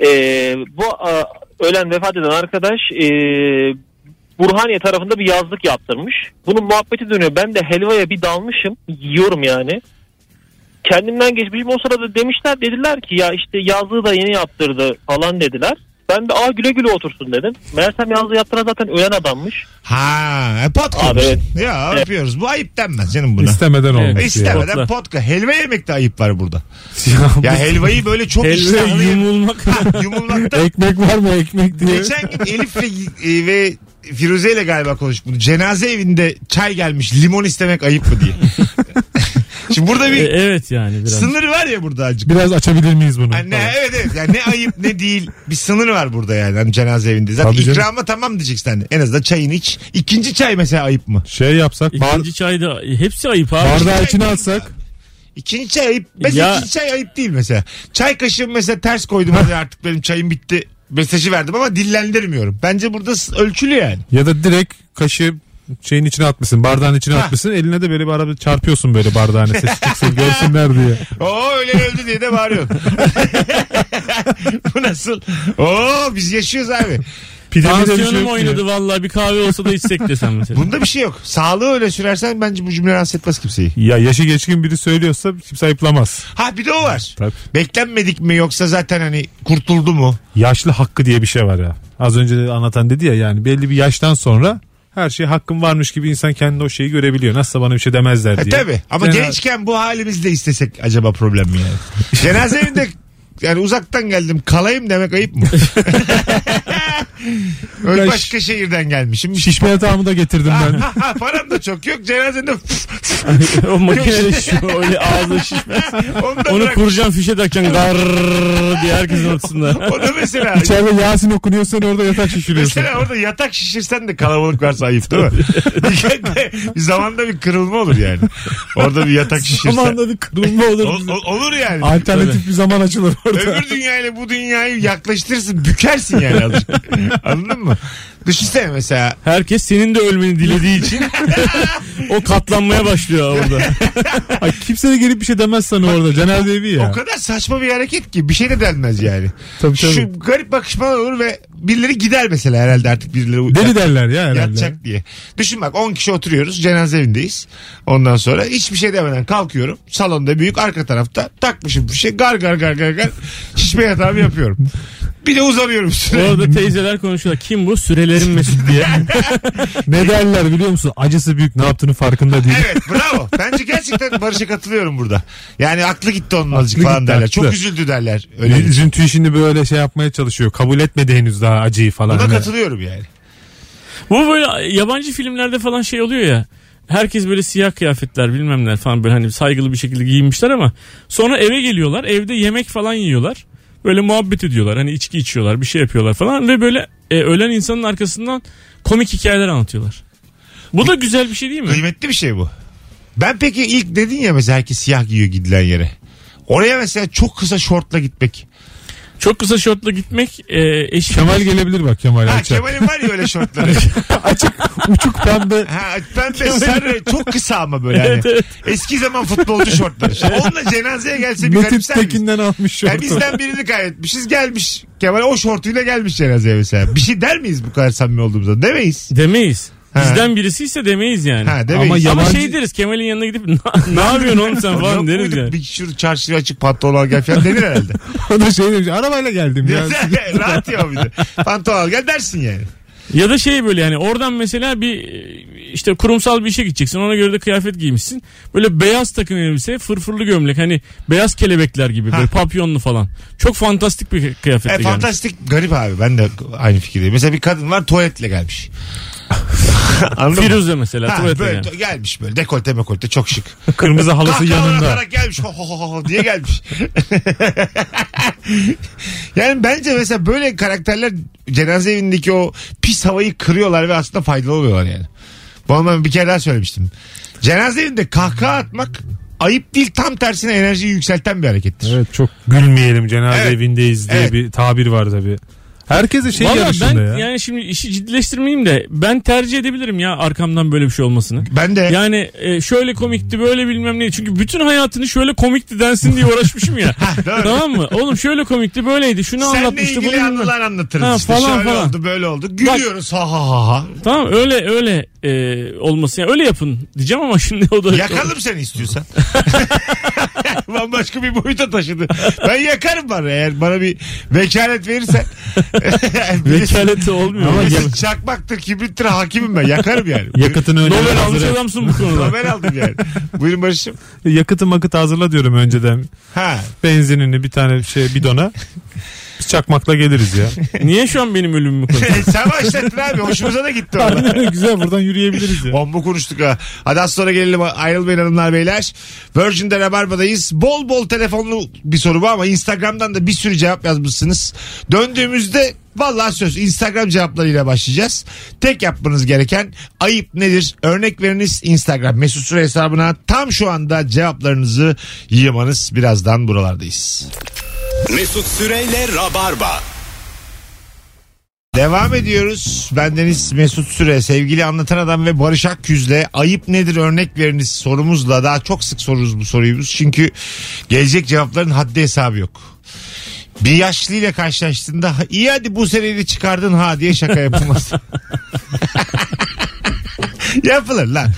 Speaker 8: Ee, bu a, ölen vefat eden arkadaş e, Burhaniye tarafında bir yazlık yaptırmış. Bunun muhabbeti dönüyor. Ben de helvaya bir dalmışım. Yiyorum yani. Kendimden geçmişim o sırada demişler dediler ki ya işte yazlığı da yeni yaptırdı falan dediler. Ben de aa güle güle otursun dedim. Meğersem yazlığı yaptıran zaten ölen adammış.
Speaker 2: Ha, e, potka.
Speaker 8: Abi,
Speaker 2: olmuş.
Speaker 8: evet.
Speaker 2: Ya öpüyoruz. Bu ayıp denmez canım buna.
Speaker 4: İstemeden
Speaker 3: Evet.
Speaker 4: olmuş. ya.
Speaker 2: İstemeden
Speaker 3: Potla.
Speaker 2: potka. Helva yemekte ayıp var burada.
Speaker 4: Ya
Speaker 2: Ya helvayı böyle çok
Speaker 3: Helva
Speaker 2: iştahlı
Speaker 3: yumulmak.
Speaker 2: yumulmakta.
Speaker 7: Ekmek var mı ekmek diye.
Speaker 2: Geçen gün Elif ve, e, ve Firuze ile galiba konuştuk bunu. Cenaze evinde çay gelmiş limon istemek ayıp mı diye. Şimdi burada
Speaker 3: E,
Speaker 2: bir
Speaker 3: evet yani biraz.
Speaker 2: sınır var ya burada acık.
Speaker 4: Biraz açabilir miyiz bunu?
Speaker 2: Hani ne, evet evet yani ne ayıp ne değil bir sınır var burada yani hani cenaze evinde. Zaten
Speaker 4: Tabii canım.
Speaker 2: ikrama tamam diyeceksin hani. En azından çayını iç. İkinci çay mesela ayıp mı?
Speaker 4: Şey yapsak bar-
Speaker 3: İkinci çayda hepsi ayıp abi.
Speaker 4: bardağı içine atsak
Speaker 2: İkinci çay ayıp. Mesela
Speaker 3: Ya-
Speaker 2: ikinci çay ayıp değil mesela. Çay kaşığımı mesela ters koydum hadi artık benim çayım bitti mesajı verdim ama dillendirmiyorum. Bence burada s- ölçülü yani.
Speaker 4: ya da direkt kaşığı şeyin içine atmışsın bardağın içine atmışsın eline de böyle bir arada çarpıyorsun böyle bardağın sesi çıksın görsünler diye.
Speaker 2: Oo öyle öldü diye de bağırıyorsun. Bu nasıl? Oo biz yaşıyoruz abi.
Speaker 4: Pide mi de bir şey
Speaker 3: Tansiyonum
Speaker 4: yok
Speaker 3: oynadı
Speaker 4: diye.
Speaker 3: vallahi bir kahve olsa da içsek desem mesela.
Speaker 2: Bunda bir şey yok. Sağlığı öyle sürersen bence bu cümle rahatsız etmez kimseyi.
Speaker 4: Ya yaşı geçkin biri söylüyorsa kimse ayıplamaz.
Speaker 2: Ha bir de o var.
Speaker 4: Tabii.
Speaker 2: Beklenmedik mi yoksa zaten hani kurtuldu mu?
Speaker 4: Yaşlı hakkı diye bir şey var ya. Az önce de anlatan dedi ya yani belli bir yaştan sonra her şey hakkım varmış gibi insan kendi o şeyi görebiliyor. Nasılsa bana bir şey demezler
Speaker 2: E
Speaker 4: diye.
Speaker 2: tabi ama
Speaker 4: Cenaze-
Speaker 2: gençken bu halimizle istesek acaba problem mi yani? Cenaze evinde yani uzaktan geldim kalayım demek ayıp mı? Öyle
Speaker 4: Ya
Speaker 2: başka şehirden gelmişim.
Speaker 4: Şişme yatağımı da getirdim
Speaker 2: Ha,
Speaker 4: ben.
Speaker 2: ha, ha, param da çok yok cenazende
Speaker 3: o makinede şu öyle ağzı şişme.
Speaker 2: onu da
Speaker 3: Onu
Speaker 2: bırak.
Speaker 3: kuracağım fişe takacaksın garrrr diye herkesin ortasında.
Speaker 2: O da mesela.
Speaker 4: İçeride Yasin okunuyor sen orada yatak şişiriyorsun.
Speaker 2: Mesela orada yatak şişirsen de kalabalık varsa ayıp değil mi? bir zamanda bir kırılma olur yani. Orada bir yatak şişirsen.
Speaker 4: Zamanda bir kırılma olur.
Speaker 2: Ol- ol- olur yani.
Speaker 4: Alternatif bir zaman açılır orada.
Speaker 2: Öbür dünyayla bu dünyayı yaklaştırırsın. Bükersin yani azıcık. Anladın mı? Düşünsene mesela.
Speaker 3: Herkes senin de ölmeni dilediği için o katlanmaya başlıyor orada.
Speaker 4: Ay, kimse de gelip bir şey demez sana orada. Cenaze evi ya.
Speaker 2: O kadar saçma bir hareket ki bir şey de denmez yani.
Speaker 4: Tabii, tabii.
Speaker 2: Şu garip bakışmalar olur ve birileri gider mesela herhalde artık birileri
Speaker 4: Deli derler ya herhalde.
Speaker 2: yatacak diye. Düşün bak 10 kişi oturuyoruz cenaze evindeyiz. Ondan sonra hiçbir şey demeden kalkıyorum. Salonda büyük arka tarafta takmışım bir şey. Gar gar gar gar gar şişme yatağımı yapıyorum. Bir de uzanıyorum üstüne.
Speaker 3: Orada teyzeler konuşuyorlar. Kim bu? Sürelerin Mesut diye.
Speaker 4: Ne derler biliyor musun? Acısı büyük ne yaptığını farkında değil.
Speaker 2: Evet bravo. Bence gerçekten Barış'a katılıyorum burada. Yani aklı gitti onun azıcık
Speaker 4: Aklı
Speaker 2: falan
Speaker 4: gitti,
Speaker 2: derler.
Speaker 4: aklı.
Speaker 2: Çok üzüldü derler. Öyle.
Speaker 4: Üzüntü işini böyle şey yapmaya çalışıyor. Kabul etmedi henüz daha acıyı falan.
Speaker 2: Buna
Speaker 4: Hani
Speaker 2: katılıyorum yani.
Speaker 3: Bu böyle yabancı filmlerde falan şey oluyor ya. Herkes böyle siyah kıyafetler bilmem ne falan böyle hani saygılı bir şekilde giyinmişler ama sonra eve geliyorlar evde yemek falan yiyorlar. Böyle muhabbet ediyorlar hani içki içiyorlar bir şey yapıyorlar falan ve böyle e, ölen insanın arkasından komik hikayeler anlatıyorlar. Bu da güzel bir şey değil mi?
Speaker 2: Kıymetli bir şey bu. Ben peki ilk dedin ya mesela herkes siyah giyiyor gidilen yere. Oraya mesela çok kısa şortla gitmek.
Speaker 3: Çok kısa şortla gitmek e, eşit.
Speaker 4: Kemal gelebilir bak Kemal
Speaker 2: Ha
Speaker 4: Ayça.
Speaker 2: Kemal'in var ya öyle şortları.
Speaker 7: Uçuk pembe.
Speaker 2: Ha, pembe sarı çok kısa ama böyle hani. Eski zaman futbolcu şortları. Şimdi onunla cenazeye gelse bir
Speaker 4: Metin
Speaker 2: garipser miyiz?
Speaker 4: Tekin'den almış
Speaker 2: Yani
Speaker 4: şortu.
Speaker 2: bizden birini kaybetmişiz gelmiş. Kemal o şortuyla gelmiş cenazeye mesela. Bir şey der miyiz bu kadar samimi olduğumuzda? Demeyiz.
Speaker 3: Demeyiz.
Speaker 2: Ha.
Speaker 3: Bizden birisi ise demeyiz yani.
Speaker 2: Ha demeyiz.
Speaker 4: Ama
Speaker 3: Ama
Speaker 4: Yabancı-
Speaker 3: şey deriz Kemal'in yanına gidip "Na- ne yapıyorsun oğlum sen
Speaker 2: Yok
Speaker 3: falan deriz
Speaker 2: muyduk?
Speaker 3: yani.
Speaker 2: Bir şur çarşıya açık pantolon al gel falan denir herhalde.
Speaker 4: O da şey demiş arabayla geldim ya.
Speaker 2: Rahat ya bir de. Pantolon al gel dersin yani.
Speaker 3: Ya da şey böyle yani oradan mesela bir e, işte kurumsal bir işe gideceksin ona göre de kıyafet giymişsin. Böyle beyaz takım elbise fırfırlı gömlek hani beyaz kelebekler gibi
Speaker 2: Ha.
Speaker 3: böyle papyonlu falan. Çok fantastik bir kıyafetle
Speaker 2: E,
Speaker 3: gelmiş.
Speaker 2: fantastik garip abi ben de aynı fikirdeyim. Mesela bir kadın var tuvaletle gelmiş. Anladın mı?
Speaker 3: Firuze mesela
Speaker 2: Ha,
Speaker 3: tuvalete
Speaker 2: böyle
Speaker 3: yani.
Speaker 2: to- gelmiş böyle dekolte mekolte çok şık.
Speaker 4: Kırmızı halısı
Speaker 2: Kahkahalar
Speaker 4: yanında.
Speaker 2: atarak gelmiş ho, ho, ho, ho diye gelmiş. yani bence mesela böyle karakterler cenaze evindeki o pis havayı kırıyorlar ve aslında faydalı oluyorlar yani. Bunu ben bir kere daha söylemiştim. Cenaze evinde kahkaha atmak ayıp değil tam tersine enerjiyi yükselten bir harekettir.
Speaker 4: Evet çok gülmeyelim cenaze
Speaker 2: Evet.
Speaker 4: evindeyiz diye
Speaker 2: Evet.
Speaker 4: bir tabir var tabii. Herkes de şey
Speaker 3: Valla ben
Speaker 4: yarışında ya.
Speaker 3: yani şimdi işi ciddileştirmeyeyim de ben tercih edebilirim ya arkamdan böyle bir şey olmasını.
Speaker 2: Ben de
Speaker 3: Yani e, şöyle komikti böyle bilmem ne. Çünkü bütün hayatını şöyle komikti densin diye uğraşmışım ya.
Speaker 2: doğru.
Speaker 3: tamam mı? Oğlum şöyle komikti böyleydi. Şunu
Speaker 2: senle
Speaker 3: anlatmıştı.
Speaker 2: ilgili
Speaker 3: bunu bilmem-
Speaker 2: anılar anlatırız
Speaker 3: Ha,
Speaker 2: işte.
Speaker 3: falan,
Speaker 2: Şöyle
Speaker 3: falan.
Speaker 2: oldu böyle oldu. Gülüyoruz ha ha ha ha.
Speaker 3: Tamam öyle öyle e, olması. Yani öyle yapın diyeceğim ama şimdi o da...
Speaker 2: Yakalım seni istiyorsan. Bambaşka bir boyuta taşıdı. Ben yakarım bana eğer bana bir vekalet verirsen. Birisi-
Speaker 3: Vekaleti olmuyor. Ama
Speaker 2: birisi çakmaktır, kibrittir hakimim ben. Yakarım yani.
Speaker 4: Yakıtını önceden
Speaker 3: Nobel almış
Speaker 4: hazırla.
Speaker 3: adamsın bu konuda.
Speaker 2: Ben aldım yani. Buyurun Barış'ım.
Speaker 4: Yakıtı makıt hazırla diyorum önceden.
Speaker 2: Ha.
Speaker 4: Benzinini bir tane şey bidona. Biz çakmakla geliriz ya.
Speaker 3: Niye şu an benim ölümümü konuşuyorsun?
Speaker 2: Sen başlattın abi. Hoşumuza da gitti orada.
Speaker 4: Güzel buradan yürüyebiliriz ya.
Speaker 2: Bomba konuştuk ha. Hadi az sonra gelelim ayrılmayın hanımlar beyler. Virgin'de Rabarba'dayız. Bol bol telefonlu bir soru bu ama Instagram'dan da bir sürü cevap yazmışsınız. Döndüğümüzde vallahi söz Instagram cevaplarıyla başlayacağız. Tek yapmanız gereken ayıp nedir? Örnek veriniz Instagram mesut süre hesabına tam şu anda cevaplarınızı yığmanız. Birazdan buralardayız.
Speaker 1: Mesut Süreyle Rabarba.
Speaker 2: Devam ediyoruz. Bendeniz Mesut Süre, sevgili anlatan adam ve Barış Akyüz'le ayıp nedir örnek veriniz sorumuzla daha çok sık soruruz bu soruyu biz. Çünkü gelecek cevapların haddi hesabı yok. Bir yaşlıyla karşılaştığında "Ha, iyi hadi bu seneyi çıkardın ha diye şaka yapılmaz. Yapılır lan.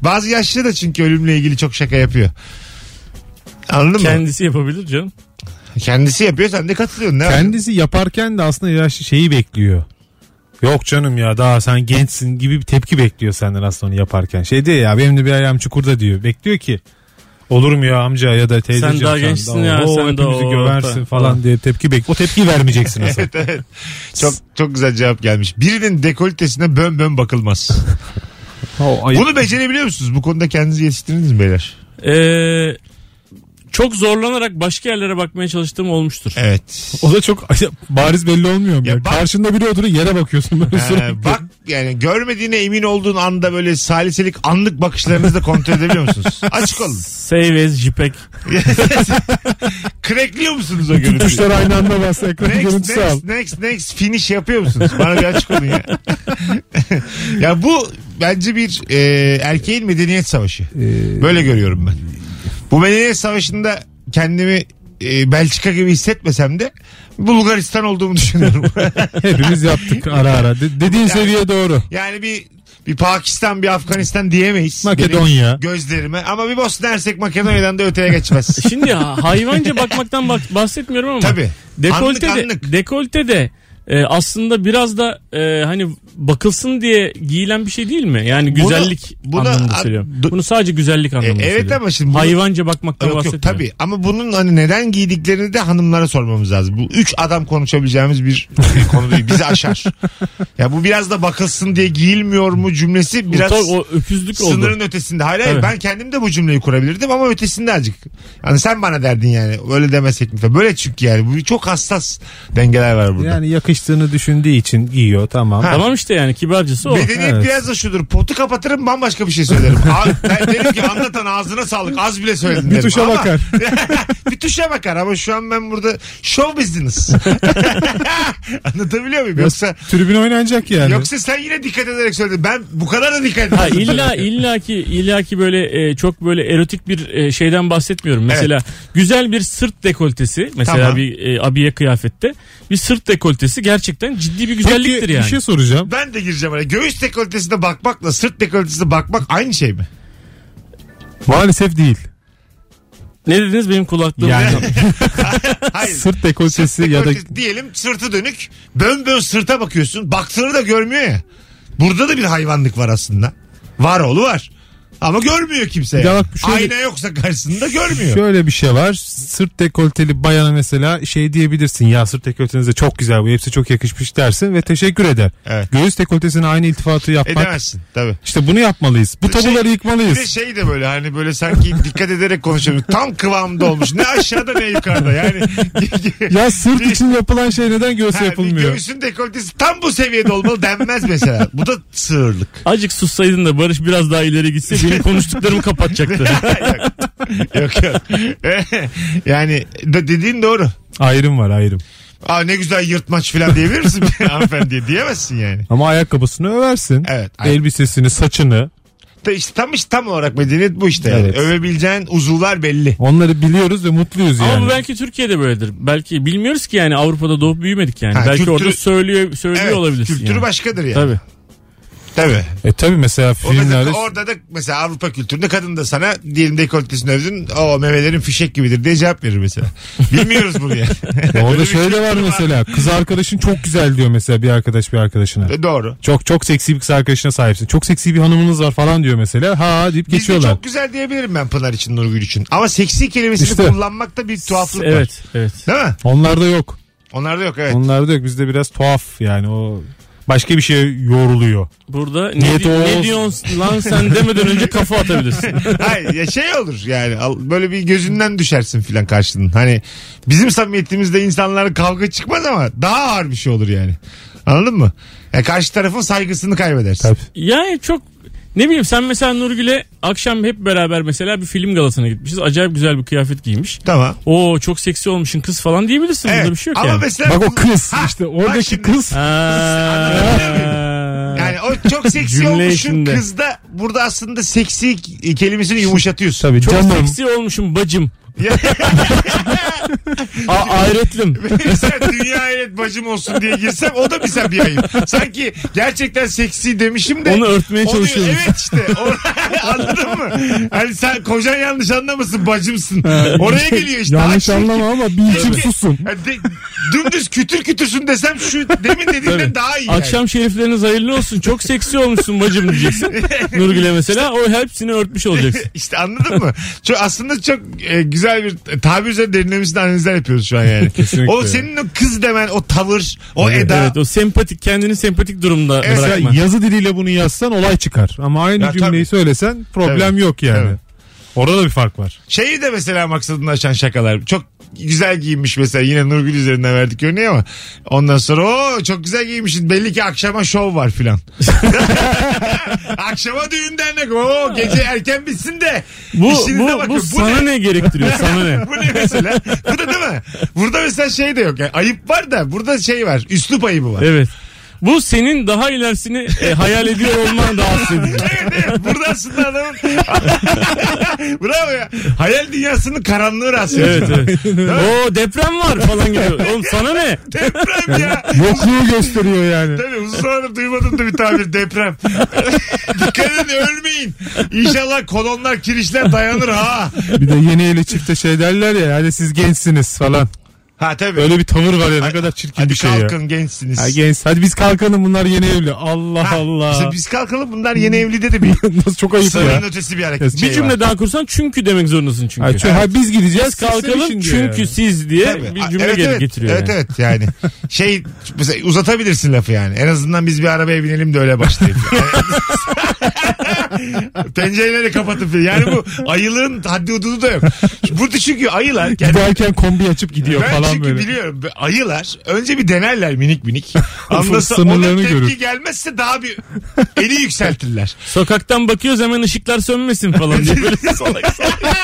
Speaker 2: Bazı yaşlı da çünkü ölümle ilgili çok şaka yapıyor. Anladın mı?
Speaker 3: Kendisi yapabilir canım.
Speaker 2: Kendisi yapıyor sen de katılıyorsun. Ne var?
Speaker 4: Kendisi yaparken de aslında yaşlı şeyi bekliyor. Yok canım ya daha sen gençsin gibi bir tepki bekliyor senden aslında onu yaparken. Şey diyor ya benim de bir ayağım çukurda diyor. Bekliyor ki olur mu ya amca ya da teyzeciğim
Speaker 3: daha gençsin
Speaker 4: daha-
Speaker 3: ya,
Speaker 4: Oo,
Speaker 3: sen daha
Speaker 4: hepimizi
Speaker 3: o-
Speaker 4: göversin
Speaker 3: orta-
Speaker 4: falan diye tepki bek. O tepki vermeyeceksin aslında.
Speaker 2: Çok çok güzel cevap gelmiş. Birinin dekoltesine bön bön bakılmaz.
Speaker 4: O ayıp.
Speaker 2: Bunu becerebiliyor musunuz? Bu konuda kendinizi yetiştirdiniz mi beyler?
Speaker 3: Ee, çok zorlanarak başka yerlere bakmaya çalıştığım olmuştur.
Speaker 2: Evet.
Speaker 7: O da çok bariz belli olmuyor mu?
Speaker 2: Ya
Speaker 7: ya?
Speaker 2: bak-
Speaker 7: Karşında biri oturuyor yere bakıyorsun böyle
Speaker 2: Ee,
Speaker 7: sürekli.
Speaker 2: bak yani görmediğine emin olduğun anda böyle saliselik anlık bakışlarınızı da kontrol edebiliyor musunuz? Açık olun.
Speaker 3: Save as JPEG.
Speaker 2: Krekliyor musunuz o
Speaker 7: Bütün
Speaker 2: görüntüyü?
Speaker 7: tuşlar aynı anda bastı. Ekranın
Speaker 2: Next,
Speaker 7: görüntüsü al.
Speaker 2: next, next, next finish yapıyor musunuz? Bana bir açık olun ya. ya bu bence bir e, erkeğin medeniyet savaşı. Böyle görüyorum ben. Bu medeniyet savaşında kendimi e, Belçika gibi hissetmesem de Bulgaristan olduğumu düşünüyorum.
Speaker 4: Hepimiz yaptık ara ara. De- dediğin seviye doğru.
Speaker 2: yani bir bir Pakistan, bir Afganistan diyemeyiz.
Speaker 4: Makedonya.
Speaker 2: Benim gözlerime. Ama bir Bosna Hersek Makedonya'dan da öteye geçmez.
Speaker 3: Şimdi ha- hayvanca bakmaktan bak- bahsetmiyorum ama.
Speaker 2: Tabii.
Speaker 3: Dekolte
Speaker 2: Anlık,
Speaker 3: de,
Speaker 2: anlık.
Speaker 3: dekolte de e, aslında biraz da e, hani bakılsın diye giyilen bir şey değil mi? Yani
Speaker 2: Bunu-
Speaker 3: güzellik
Speaker 2: bunu-
Speaker 3: anlamında
Speaker 2: a-
Speaker 3: söylüyorum.
Speaker 2: do-
Speaker 3: bunu sadece güzellik anlamında
Speaker 2: evet
Speaker 3: söylüyorum.
Speaker 2: ama şimdi bunu-
Speaker 3: Hayvanca bakmaktan
Speaker 2: Yok yok
Speaker 3: bahsetmiyorum.
Speaker 2: tabii ama bunun hani neden giydiklerini de hanımlara sormamız lazım. Bu üç adam konuşabileceğimiz bir konu değil. Bizi aşar. ya bu biraz da bakılsın diye giyilmiyor mu cümlesi
Speaker 3: Biraz
Speaker 2: biraz
Speaker 3: o, o öküzlük
Speaker 2: sınırın
Speaker 3: oldu.
Speaker 2: ötesinde. Hayır hayır
Speaker 3: Tabii.
Speaker 2: ben kendim de bu cümleyi kurabilirdim ama ötesinde azıcık. Yani sen bana derdin yani öyle demesek mi? falan. Böyle çünkü yani bu çok hassas dengeler var burada.
Speaker 4: Yani yakıştığını düşündüğü için giyiyor tamam.
Speaker 2: Ha.
Speaker 3: Tamam işte yani kibarcası o.
Speaker 2: Medeniyet
Speaker 9: evet.
Speaker 2: biraz da şudur. Potu kapatırım bambaşka bir şey söylerim. A- ben derim ki anlatan ağzına sağlık. Az bile söyledin derim.
Speaker 4: Bir tuşa
Speaker 2: Ama-
Speaker 4: bakar.
Speaker 2: bir tuşa bakar ama şu an ben burada show business. Anlatabiliyor muyum? Yoksa
Speaker 4: Tribün oynanacak yani.
Speaker 2: yoksa sen yine dikkat ederek söyledin. Ben bu kadar da dikkat
Speaker 3: Ha
Speaker 2: etmedim.
Speaker 3: illa illaki illaki böyle e, çok böyle erotik bir e, şeyden bahsetmiyorum. Mesela güzel bir sırt dekoltesi mesela
Speaker 2: Tamam.
Speaker 3: bir e, abiye kıyafette bir sırt dekoltesi gerçekten ciddi bir güzelliktir
Speaker 4: Peki,
Speaker 3: yani.
Speaker 4: bir şey soracağım.
Speaker 2: Ben de gireceğim oraya. Göğüs dekoltesine bakmakla sırt dekoltesine bakmak aynı şey mi?
Speaker 4: Maalesef değil.
Speaker 3: Ne dediniz benim kulaklığım?
Speaker 4: Yani
Speaker 2: Hayır.
Speaker 4: sırt dekoltesi ya da
Speaker 2: Dekoltesi Diyelim sırtı dönük. Bön bön sırta bakıyorsun. Baktığını da görmüyor ya. Burada da bir hayvanlık var aslında. Var oğlu var. Ama görmüyor kimse.
Speaker 4: Ya
Speaker 2: yani.
Speaker 4: bak şöyle-
Speaker 2: Ayna yoksa karşısında görmüyor.
Speaker 4: şöyle bir şey var. Sırt dekolteli bayana mesela şey diyebilirsin. Ya sırt dekolteniz de çok güzel bu. Hepsi çok yakışmış dersin ve teşekkür eder.
Speaker 2: Evet.
Speaker 4: Göğüs dekoltesine aynı iltifatı yapmak.
Speaker 2: Edemezsin E, tabii.
Speaker 4: İşte bunu yapmalıyız. Bu tabuları
Speaker 2: Bir de
Speaker 4: yıkmalıyız.
Speaker 2: şey de böyle hani böyle sanki dikkat ederek konuşuyorum. Tam kıvamında olmuş. Ne aşağıda ne yukarıda yani.
Speaker 4: Ya sırt için yapılan şey neden
Speaker 2: şey- Ha,
Speaker 4: göğse
Speaker 2: bir
Speaker 4: yapılmıyor?
Speaker 2: Göğsün dekoltesi tam bu seviyede olmalı denmez mesela. Bu da sığırlık.
Speaker 3: Acık sussaydın da Barış biraz daha ileri gitse benim konuştuklarımı kapatacaktı.
Speaker 2: yok yok. yok. yani de- dediğin doğru.
Speaker 4: Ayrım var ayrım.
Speaker 2: Aa ne güzel yırtmaç falan diyebilir misin bir hanımefendiye? Diyemezsin yani.
Speaker 4: Ama ayakkabısını översin.
Speaker 2: Evet.
Speaker 4: Elbisesini, saçını.
Speaker 2: Ta- işte tam işte tam olarak medeniyet bu işte yani.
Speaker 4: Evet.
Speaker 2: Övebileceğin uzuvlar belli.
Speaker 4: Onları biliyoruz ve mutluyuz yani.
Speaker 3: Ama bu belki Türkiye'de böyledir. Belki bilmiyoruz ki yani Avrupa'da doğup büyümedik yani.
Speaker 2: Ha,
Speaker 3: belki
Speaker 2: kültürü-
Speaker 3: orada söylüyor söylüyor
Speaker 2: Evet,
Speaker 3: olabilir.
Speaker 2: kültürü
Speaker 3: yani.
Speaker 2: başkadır yani.
Speaker 3: Tabii.
Speaker 2: Tabii.
Speaker 4: E tabi mesela
Speaker 2: O
Speaker 4: filmlerde
Speaker 2: mesela orada da mesela Avrupa kültüründe kadın da sana diyelim dekoltesini övdün. O memelerin fişek gibidir diye cevap verir mesela. Bilmiyoruz bunu yani. Öyle
Speaker 4: orada
Speaker 2: bir şey
Speaker 4: şöyle
Speaker 2: kültür
Speaker 4: var mesela. Kız arkadaşın çok güzel diyor mesela bir arkadaş bir arkadaşına.
Speaker 2: E, Doğru.
Speaker 4: Çok çok seksi bir kız arkadaşına sahipsin. Çok seksi bir hanımınız var falan diyor mesela. Ha deyip
Speaker 2: Biz de
Speaker 4: geçiyorlar.
Speaker 2: çok güzel diyebilirim ben Pınar için, Nurgül için. Ama seksi kelimesini
Speaker 4: İşte.
Speaker 2: kullanmakta bir tuhaflık var.
Speaker 3: Evet, evet.
Speaker 2: Değil mi?
Speaker 4: Onlarda yok.
Speaker 2: Onlarda yok evet.
Speaker 4: Onlarda yok. Bizde biraz tuhaf yani o başka bir şeye yoruluyor.
Speaker 3: Burada ne,
Speaker 4: Niyet
Speaker 3: di-
Speaker 4: o
Speaker 3: ne
Speaker 4: olsun.
Speaker 3: diyorsun lan sen demeden önce kafa atabilirsin.
Speaker 2: Hayır ya şey olur yani al- böyle bir gözünden düşersin filan karşının. Hani bizim samimiyetimizde insanlara kavga çıkmaz ama daha ağır bir şey olur yani. Anladın mı? Ya karşı tarafın saygısını kaybedersin.
Speaker 4: Tabii.
Speaker 3: Yani çok ne bileyim sen mesela Nurgül'e akşam hep beraber mesela bir film galasına gitmişiz. Acayip güzel bir kıyafet giymiş.
Speaker 2: Tamam.
Speaker 3: Oo çok seksi olmuşsun kız falan diyebilirsin.
Speaker 2: Evet.
Speaker 3: Burada bir şey yok
Speaker 2: ama
Speaker 3: yani.
Speaker 2: mesela
Speaker 4: Bak o kız
Speaker 2: Ha,
Speaker 4: işte
Speaker 2: bak
Speaker 4: oradaki
Speaker 2: şimdi.
Speaker 4: kız
Speaker 2: Anlatabiliyor muyum?
Speaker 3: Aa.
Speaker 2: Yani o çok seksi
Speaker 3: Cümle
Speaker 2: olmuşun
Speaker 3: içinde.
Speaker 2: kızda burada aslında seksi k- kelimesini yumuşatıyorsun.
Speaker 4: tabii
Speaker 3: çok
Speaker 4: canım.
Speaker 3: seksi olmuşum bacım.
Speaker 2: Ya-
Speaker 3: A ayretlim.
Speaker 2: Mesela dünya hayret bacım olsun diye girsem o da bize bir ayıp. Sanki gerçekten seksi demişim de.
Speaker 3: Onu örtmeye
Speaker 2: Onu-
Speaker 3: çalışıyoruz.
Speaker 2: Evet işte. O- Anladın mı? Hani sen kocan yanlış anlamasın bacımsın. Oraya
Speaker 3: şey,
Speaker 2: geliyor işte.
Speaker 4: Yanlış
Speaker 2: Ay,
Speaker 4: anlama ama bir içim
Speaker 2: Tabii.
Speaker 4: susun.
Speaker 2: Ya de- dümdüz kütür kütürsün desem şu demin dediğinden daha iyi. yani.
Speaker 3: Akşam şerifleriniz hayırlı olsun. Çok seksi olmuşsun bacım diyeceksin. Nurgül'e mesela o hepsini örtmüş olacaksın.
Speaker 2: İşte anladın mı? Çok, aslında çok e, güzel bir tabir üzerine derinlemesine analizler yapıyoruz şu an yani.
Speaker 4: Kesinlikle.
Speaker 2: o senin o kız demen, o tavır, o eda.
Speaker 3: Evet o sempatik kendini sempatik durumda
Speaker 2: Evet.
Speaker 3: bırakma.
Speaker 4: Mesela yazı diliyle bunu yazsan olay çıkar. Ama aynı
Speaker 2: Ya
Speaker 4: cümleyi
Speaker 2: tabii.
Speaker 4: söylesen problem
Speaker 2: Tabii.
Speaker 4: yok yani.
Speaker 2: Tabii.
Speaker 4: Orada da bir fark var.
Speaker 2: Şeyi de mesela maksadını aşan şakalar. Çok güzel giyinmiş mesela yine Nurgül üzerinden verdik örneği ama ondan sonra o çok güzel giyinmişsin belli ki akşama şov var filan. akşama düğün dernek o gece erken bitsin de
Speaker 3: Bu,
Speaker 2: işinize
Speaker 3: bu,
Speaker 2: bakın.
Speaker 3: bu sana ne? gerektiriyor sana ne?
Speaker 2: Bu ne mesela? Bu da değil mi? Burada mesela şey de yok. Yani ayıp var da burada şey var. Üslup ayıbı var.
Speaker 3: Evet. Bu senin daha ilerisini e, hayal ediyor olman rahatsız edici.
Speaker 2: evet evet. Burada aslında adamın... Bravo ya. Hayal dünyasının karanlığı rahatsız edici.
Speaker 3: Evet evet. Oo deprem var falan gibi. Oğlum sana ne?
Speaker 2: Deprem ya.
Speaker 4: Yokluğu gösteriyor yani.
Speaker 2: Tabii uzun zamandır duymadım da bir tabir deprem. Dikkat edin ölmeyin. İnşallah kolonlar kirişler dayanır ha.
Speaker 4: Bir de yeni eli çifte şey derler ya hani siz gençsiniz falan.
Speaker 2: Ha tabii.
Speaker 4: Öyle bir tavır var ya ne kadar çirkin
Speaker 2: Hadi
Speaker 4: bir şey ya.
Speaker 2: kalkın gençsiniz.
Speaker 4: Ha, genç. Hadi biz kalkalım bunlar yeni evli.
Speaker 2: Ha,
Speaker 4: Allah Allah.
Speaker 2: işte biz kalkalım bunlar yeni evlide de bir
Speaker 4: Nasıl çok ayıp ya.
Speaker 2: sınırın ötesi bir hareket.
Speaker 4: Bir
Speaker 2: şey
Speaker 3: Bir
Speaker 2: var.
Speaker 3: cümle daha kursan çünkü demek zorundasın çünkü.
Speaker 4: Ha, çünkü- ha, biz gideceğiz
Speaker 3: Biz kalkalım çünkü siz diye
Speaker 2: Tabii.
Speaker 3: bir cümle
Speaker 2: Evet,
Speaker 3: geri
Speaker 2: evet.
Speaker 3: getiriyor.
Speaker 2: Evet
Speaker 3: yani.
Speaker 2: evet yani. Şey mesela uzatabilirsin lafı yani. En azından biz bir arabaya binelim de öyle başlayalım. Tencereleri kapatın falan. Yani bu ayılığın haddi hududu da yok. Burada çünkü ayılar kendi
Speaker 7: Giderken kombi açıp gidiyor
Speaker 2: ben
Speaker 7: falan
Speaker 2: çünkü
Speaker 7: böyle.
Speaker 2: biliyorum ayılar önce bir denerler minik minik. Anlasa onun
Speaker 7: Sınırlarını
Speaker 2: tepki
Speaker 7: görür.
Speaker 2: gelmezse daha bir eli yükseltirler.
Speaker 3: Sokaktan bakıyoruz hemen ışıklar sönmesin falan diye. Böyle salak salak.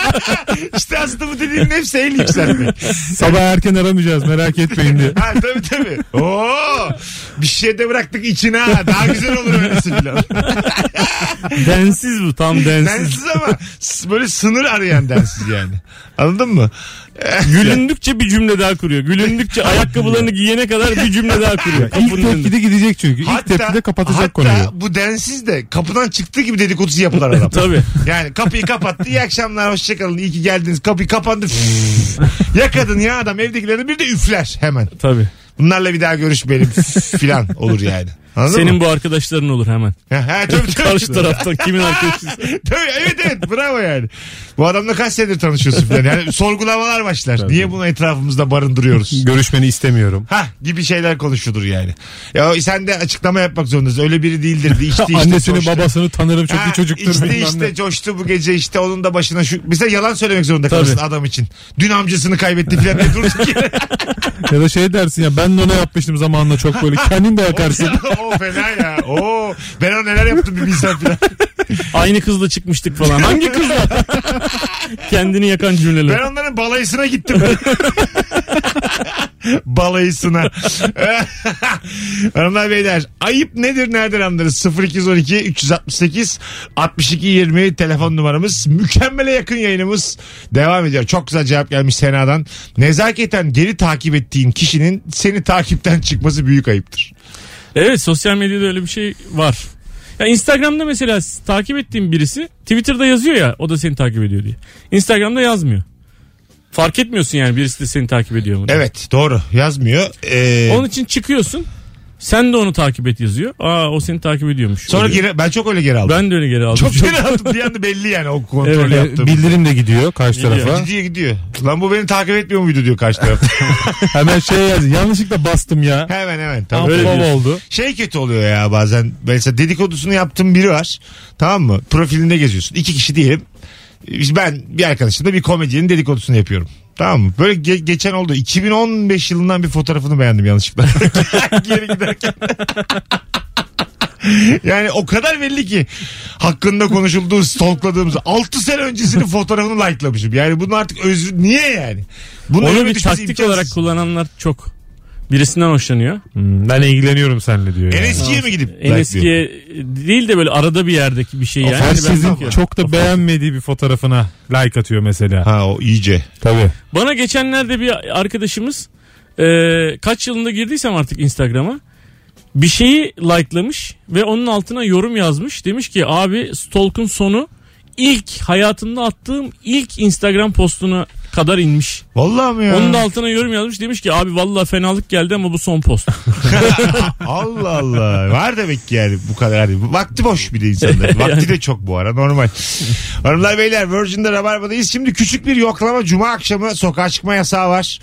Speaker 2: işte aslında bu dediğinin hepsi el yükseltmek.
Speaker 7: Sabah erken aramayacağız merak etmeyin diye.
Speaker 2: Ha tabii tabii. Oo, bir şey de bıraktık içine ha. Daha güzel olur öylesi filan.
Speaker 3: densiz bu tam densiz.
Speaker 2: Densiz ama s- böyle sınır arayan densiz yani. Anladın mı?
Speaker 3: Gülündükçe bir cümle daha kuruyor. Gülündükçe ayakkabılarını giyene kadar bir cümle daha kuruyor.
Speaker 7: İlk
Speaker 3: Kapının önünde.
Speaker 7: tepkide gidecek çünkü. İlk tepkide kapatacak
Speaker 2: hatta
Speaker 7: konuyu.
Speaker 2: bu densiz de kapıdan çıktığı gibi dedikodusu yapılar adam.
Speaker 3: Tabii.
Speaker 2: Yani kapıyı kapattı. İyi akşamlar hoşçakalın. İyi ki geldiniz. Kapıyı kapandı. Üf. Yakadın ya adam evdekilerin bir de üfler hemen.
Speaker 3: Tabii.
Speaker 2: Bunlarla bir daha görüşmeyelim filan olur yani. Anladın
Speaker 3: Senin
Speaker 2: mı?
Speaker 3: bu arkadaşların olur hemen.
Speaker 2: Ha, ha, tabii, tabii.
Speaker 3: Karşı taraftan kimin arkadaşı?
Speaker 2: Tabii evet evet bravo yani. Bu adamla kaç senedir tanışıyorsun falan. Yani sorgulamalar başlar. Niye bunu etrafımızda barındırıyoruz?
Speaker 7: Görüşmeni istemiyorum.
Speaker 2: Ha gibi şeyler konuşulur yani. Ya sen de açıklama yapmak zorundasın. Öyle biri değildir. İşte işte
Speaker 7: Annesini
Speaker 2: coştu.
Speaker 7: babasını tanırım çok
Speaker 2: Ha,
Speaker 7: iyi çocuktur.
Speaker 2: işte
Speaker 7: bilmem
Speaker 2: işte
Speaker 7: ne.
Speaker 2: coştu bu gece işte onun da başına şu. Mesela yalan söylemek zorunda
Speaker 3: Tabii.
Speaker 2: kalırsın adam için. Dün amcasını kaybetti falan diye durduk yere.
Speaker 7: Ya da şey dersin ya ben de ona yapmıştım zamanında çok böyle kendin de yakarsın.
Speaker 2: o fena ya. Oo, ben ona neler yaptım bir bilsem falan.
Speaker 3: Aynı kızla çıkmıştık falan. Hangi kızla? Kendini yakan
Speaker 2: Ben
Speaker 3: cümleler.
Speaker 2: onların balayısına gittim. balayısına. Hanımlar beyler ayıp nedir nereden anlarız? 0212 368 62 20 telefon numaramız. Mükemmele yakın yayınımız devam ediyor. Çok güzel cevap gelmiş Sena'dan. Nezaketen geri takip ettiğin kişinin seni takipten çıkması büyük ayıptır.
Speaker 3: Evet sosyal medyada öyle bir şey var. Ya Instagram'da mesela s- takip ettiğim birisi Twitter'da yazıyor ya o da seni takip ediyor diye. Instagram'da yazmıyor. Fark etmiyorsun yani birisi de seni takip ediyor mu? diye.
Speaker 2: Evet doğru yazmıyor. Ee,
Speaker 3: Onun için çıkıyorsun. Sen de onu takip et yazıyor. Aa o seni takip ediyormuş.
Speaker 2: sonra
Speaker 3: Oluyor.
Speaker 2: geri, ben çok öyle geri aldım.
Speaker 3: ben de öyle geri aldım.
Speaker 2: çok geri aldım bir anda belli yani o kontrolü
Speaker 3: Evet,
Speaker 2: yaptım.
Speaker 7: Bildirim de gidiyor karşı
Speaker 3: Gidiyor.
Speaker 7: tarafa.
Speaker 2: Gidiyor gidiyor. Lan bu beni takip etmiyor muydu diyor karşı taraf.
Speaker 7: Hemen şey yaz. Yanlışlıkla bastım ya.
Speaker 2: hemen hemen. Tamam.
Speaker 7: Tam
Speaker 3: Öyle
Speaker 7: fav
Speaker 3: diyorsun.
Speaker 7: oldu.
Speaker 2: Şey kötü oluyor ya bazen. Mesela dedikodusunu yaptığım biri var. Tamam mı? Profilinde geziyorsun. İki kişi diyelim. Biz- Ben bir arkadaşımla bir komedyenin dedikodusunu yapıyorum. Tamam mı? Böyle ge- geçen oldu. 2015 yılından bir fotoğrafını beğendim yanlışlıkla. Geri giderken. yani o kadar belli ki hakkında konuşulduğu, stalkladığımız 6 sene öncesinin fotoğrafını likelamışım. Yani bunu artık özür... Niye yani? Bunu
Speaker 3: Onu
Speaker 2: önüme
Speaker 3: bir
Speaker 2: düşmesi
Speaker 3: taktik
Speaker 2: imkansız.
Speaker 3: olarak kullananlar çok. Birisinden hoşlanıyor.
Speaker 7: Hmm, Ben ilgileniyorum seninle diyor.
Speaker 2: En
Speaker 7: Yani.
Speaker 2: eskiye mi gidip?
Speaker 3: En
Speaker 2: like diyor?
Speaker 3: eskiye değil de böyle arada bir yerdeki bir şey yani. Ben
Speaker 7: Herkesin
Speaker 3: bakıyorum.
Speaker 7: çok da beğenmediği bir fotoğrafına like atıyor mesela.
Speaker 2: Ha o iyice.
Speaker 7: Tabii.
Speaker 3: Bana geçenlerde bir arkadaşımız e, kaç yılında girdiysem artık Instagram'a bir şeyi likelamış ve onun altına yorum yazmış. Demiş ki abi Stalk'un sonu ilk hayatımda attığım ilk Instagram postuna kadar inmiş.
Speaker 2: Vallahi mi ya?
Speaker 3: Onun da altına yorum yazmış. Demiş ki abi vallahi fenalık geldi ama bu son post.
Speaker 2: Allah Allah. Var demek ki yani bu kadar. Hani vakti boş bir de insanların. Vakti de çok bu ara normal. Hanımlar beyler Virgin'de Rabarba'dayız. Şimdi küçük bir yoklama. Cuma akşamı sokağa çıkma yasağı var.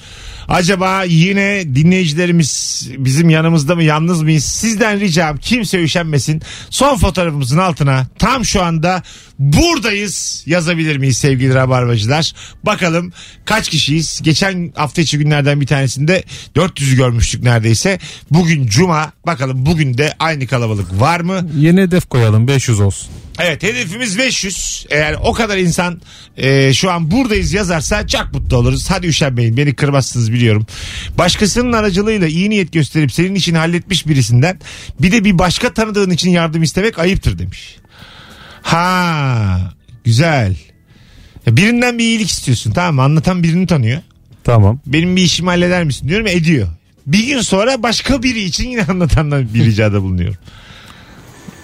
Speaker 2: Acaba yine dinleyicilerimiz bizim yanımızda mı yalnız mıyız? Sizden ricam kimse üşenmesin. Son fotoğrafımızın altına tam şu anda buradayız yazabilir miyiz sevgili Rabarbacılar? Bakalım kaç kişiyiz? Geçen hafta içi günlerden bir tanesinde 400'ü görmüştük neredeyse. Bugün cuma bakalım bugün de aynı kalabalık var mı?
Speaker 7: Yeni hedef koyalım 500 olsun.
Speaker 2: Evet hedefimiz 500. Eğer o kadar insan e, şu an buradayız yazarsa çok mutlu oluruz. Hadi üşenmeyin beni kırmazsınız biliyorum. Başkasının aracılığıyla iyi niyet gösterip senin işini halletmiş birisinden bir de bir başka tanıdığın için yardım istemek ayıptır demiş. Ha güzel. Ya Birinden bir iyilik istiyorsun tamam mı? Anlatan birini tanıyor.
Speaker 7: Tamam.
Speaker 2: Benim bir işimi halleder misin diyorum ediyor. Bir gün sonra başka biri için yine anlatandan bir ricada bulunuyorum.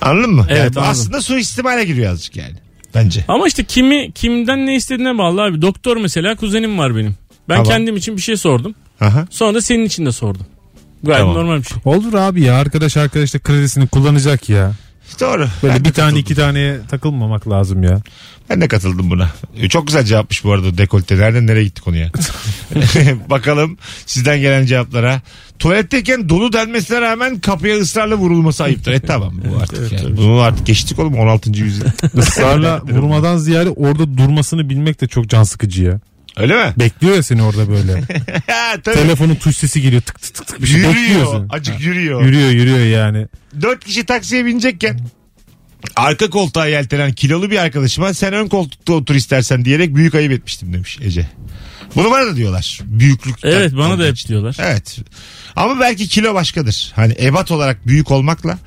Speaker 2: Anladın mı?
Speaker 3: Evet,
Speaker 2: Yani
Speaker 3: anladım.
Speaker 2: aslında suistimale giriyor azıcık yani. Bence.
Speaker 3: Ama işte kimi kimden ne istediğine bağlı abi. Doktor mesela kuzenim var benim. Ben
Speaker 2: Tamam.
Speaker 3: kendim için bir şey sordum.
Speaker 2: Aha.
Speaker 3: Sonra da senin için de sordum. Gayet
Speaker 2: Tamam.
Speaker 3: normal bir şey.
Speaker 7: Olur abi ya arkadaş arkadaş da kredisini kullanacak ya.
Speaker 2: Doğru.
Speaker 4: Böyle
Speaker 2: Ben de
Speaker 4: bir tane
Speaker 2: katıldım.
Speaker 4: iki taneye takılmamak lazım ya.
Speaker 2: Ben de katıldım buna. E, Çok güzel cevapmış bu arada dekolte. Nereden nereye gitti konuya? Bakalım sizden gelen cevaplara. Tuvaletteyken dolu denmesine rağmen kapıya ısrarla vurulması ayıptır. E tamam bu artık yani. Bunu artık geçtik oğlum 16. yüzyıl.
Speaker 4: Israrla vurmadan ziyade orada durmasını bilmek de çok can sıkıcı ya.
Speaker 2: Öyle mi?
Speaker 4: Bekliyor ya seni orada böyle.
Speaker 2: Tabii.
Speaker 4: Telefonun tuş sesi geliyor tık tık tık tık bir şey
Speaker 2: Yürüyor.
Speaker 4: bekliyorsun.
Speaker 2: Acık yürüyor.
Speaker 4: Yürüyor yürüyor yani.
Speaker 2: Dört kişi taksiye binecekken arka koltuğa yeltenen kilolu bir arkadaşıma sen ön koltukta otur istersen diyerek büyük ayıp etmiştim demiş Ece. Bunu bana da diyorlar. Büyüklük.
Speaker 3: Evet bana da hep diyorlar.
Speaker 2: Evet. Ama belki kilo başkadır. Hani ebat olarak büyük olmakla.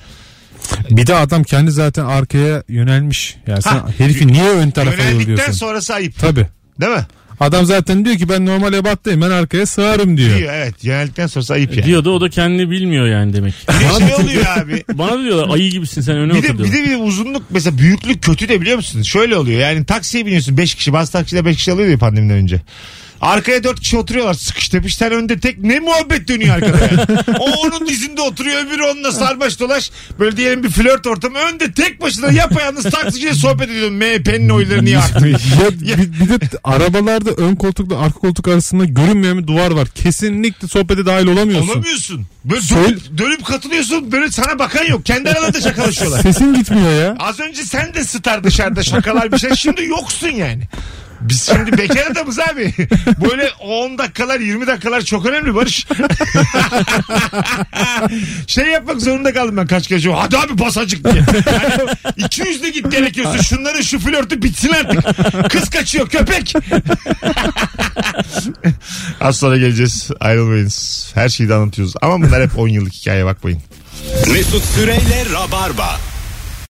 Speaker 4: Bir de adam kendi zaten arkaya yönelmiş. Yani sen
Speaker 2: Ha,
Speaker 4: herifi niye ön tarafa
Speaker 2: Yöneldikten
Speaker 4: yolluyorsun?
Speaker 2: sonrası ayıp.
Speaker 4: Tabii.
Speaker 2: Değil mi?
Speaker 4: Adam zaten diyor ki ben normal ebattayım ben arkaya sığarım diyor.
Speaker 2: Diyor evet. Yöneldikten sonrası ayıp yani.
Speaker 3: Diyor da o da kendini bilmiyor yani demek.
Speaker 2: Bir de şey oluyor abi.
Speaker 3: Bana da diyorlar ayı gibisin sen öne
Speaker 2: Bir
Speaker 3: otur
Speaker 2: de, bir
Speaker 3: diyorlar.
Speaker 2: de bir uzunluk mesela büyüklük kötü de biliyor musun? Şöyle oluyor yani taksiye biniyorsun 5 kişi bazı takside 5 kişi alıyor ya pandemiden önce. Arkaya 4 kişi oturuyorlar sıkış tepiş sen önde tek ne muhabbet dönüyor arkada ya. o onun dizinde oturuyor öbürü onunla sarmaş dolaş böyle diyelim bir flört ortamı önde tek başına yapayalnız taksiciyle sohbet ediyorsun MHP'nin oyları niye arttı?
Speaker 4: Ya bir, bir de t- arabalarda ön koltukla arka koltuk arasında görünmeyen bir duvar var. Kesinlikle sohbete dahil olamıyorsun.
Speaker 2: Olamıyorsun. Böyle
Speaker 4: Söyle-
Speaker 2: dönüp, dönüp katılıyorsun böyle sana bakan yok kendi aralarında şakalaşıyorlar.
Speaker 4: Sesin gitmiyor ya.
Speaker 2: Az önce sen de star dışarıda şakalar bir şey. Şimdi yoksun yani. Biz şimdi bekar adamız abi. Böyle 10 dakikalar 20 dakikalar çok önemli Barış. şey yapmak zorunda kaldım ben kaç kere. Hadi abi basacık diye. Yani 200 de git gerekiyorsa şunların şu flörtü bitsin artık. Kız kaçıyor köpek. Az sonra geleceğiz. Ayrılmayınız. Her şeyi de anlatıyoruz. Ama bunlar hep 10 yıllık hikaye bakmayın.
Speaker 1: Mesut Süreyle Rabarba.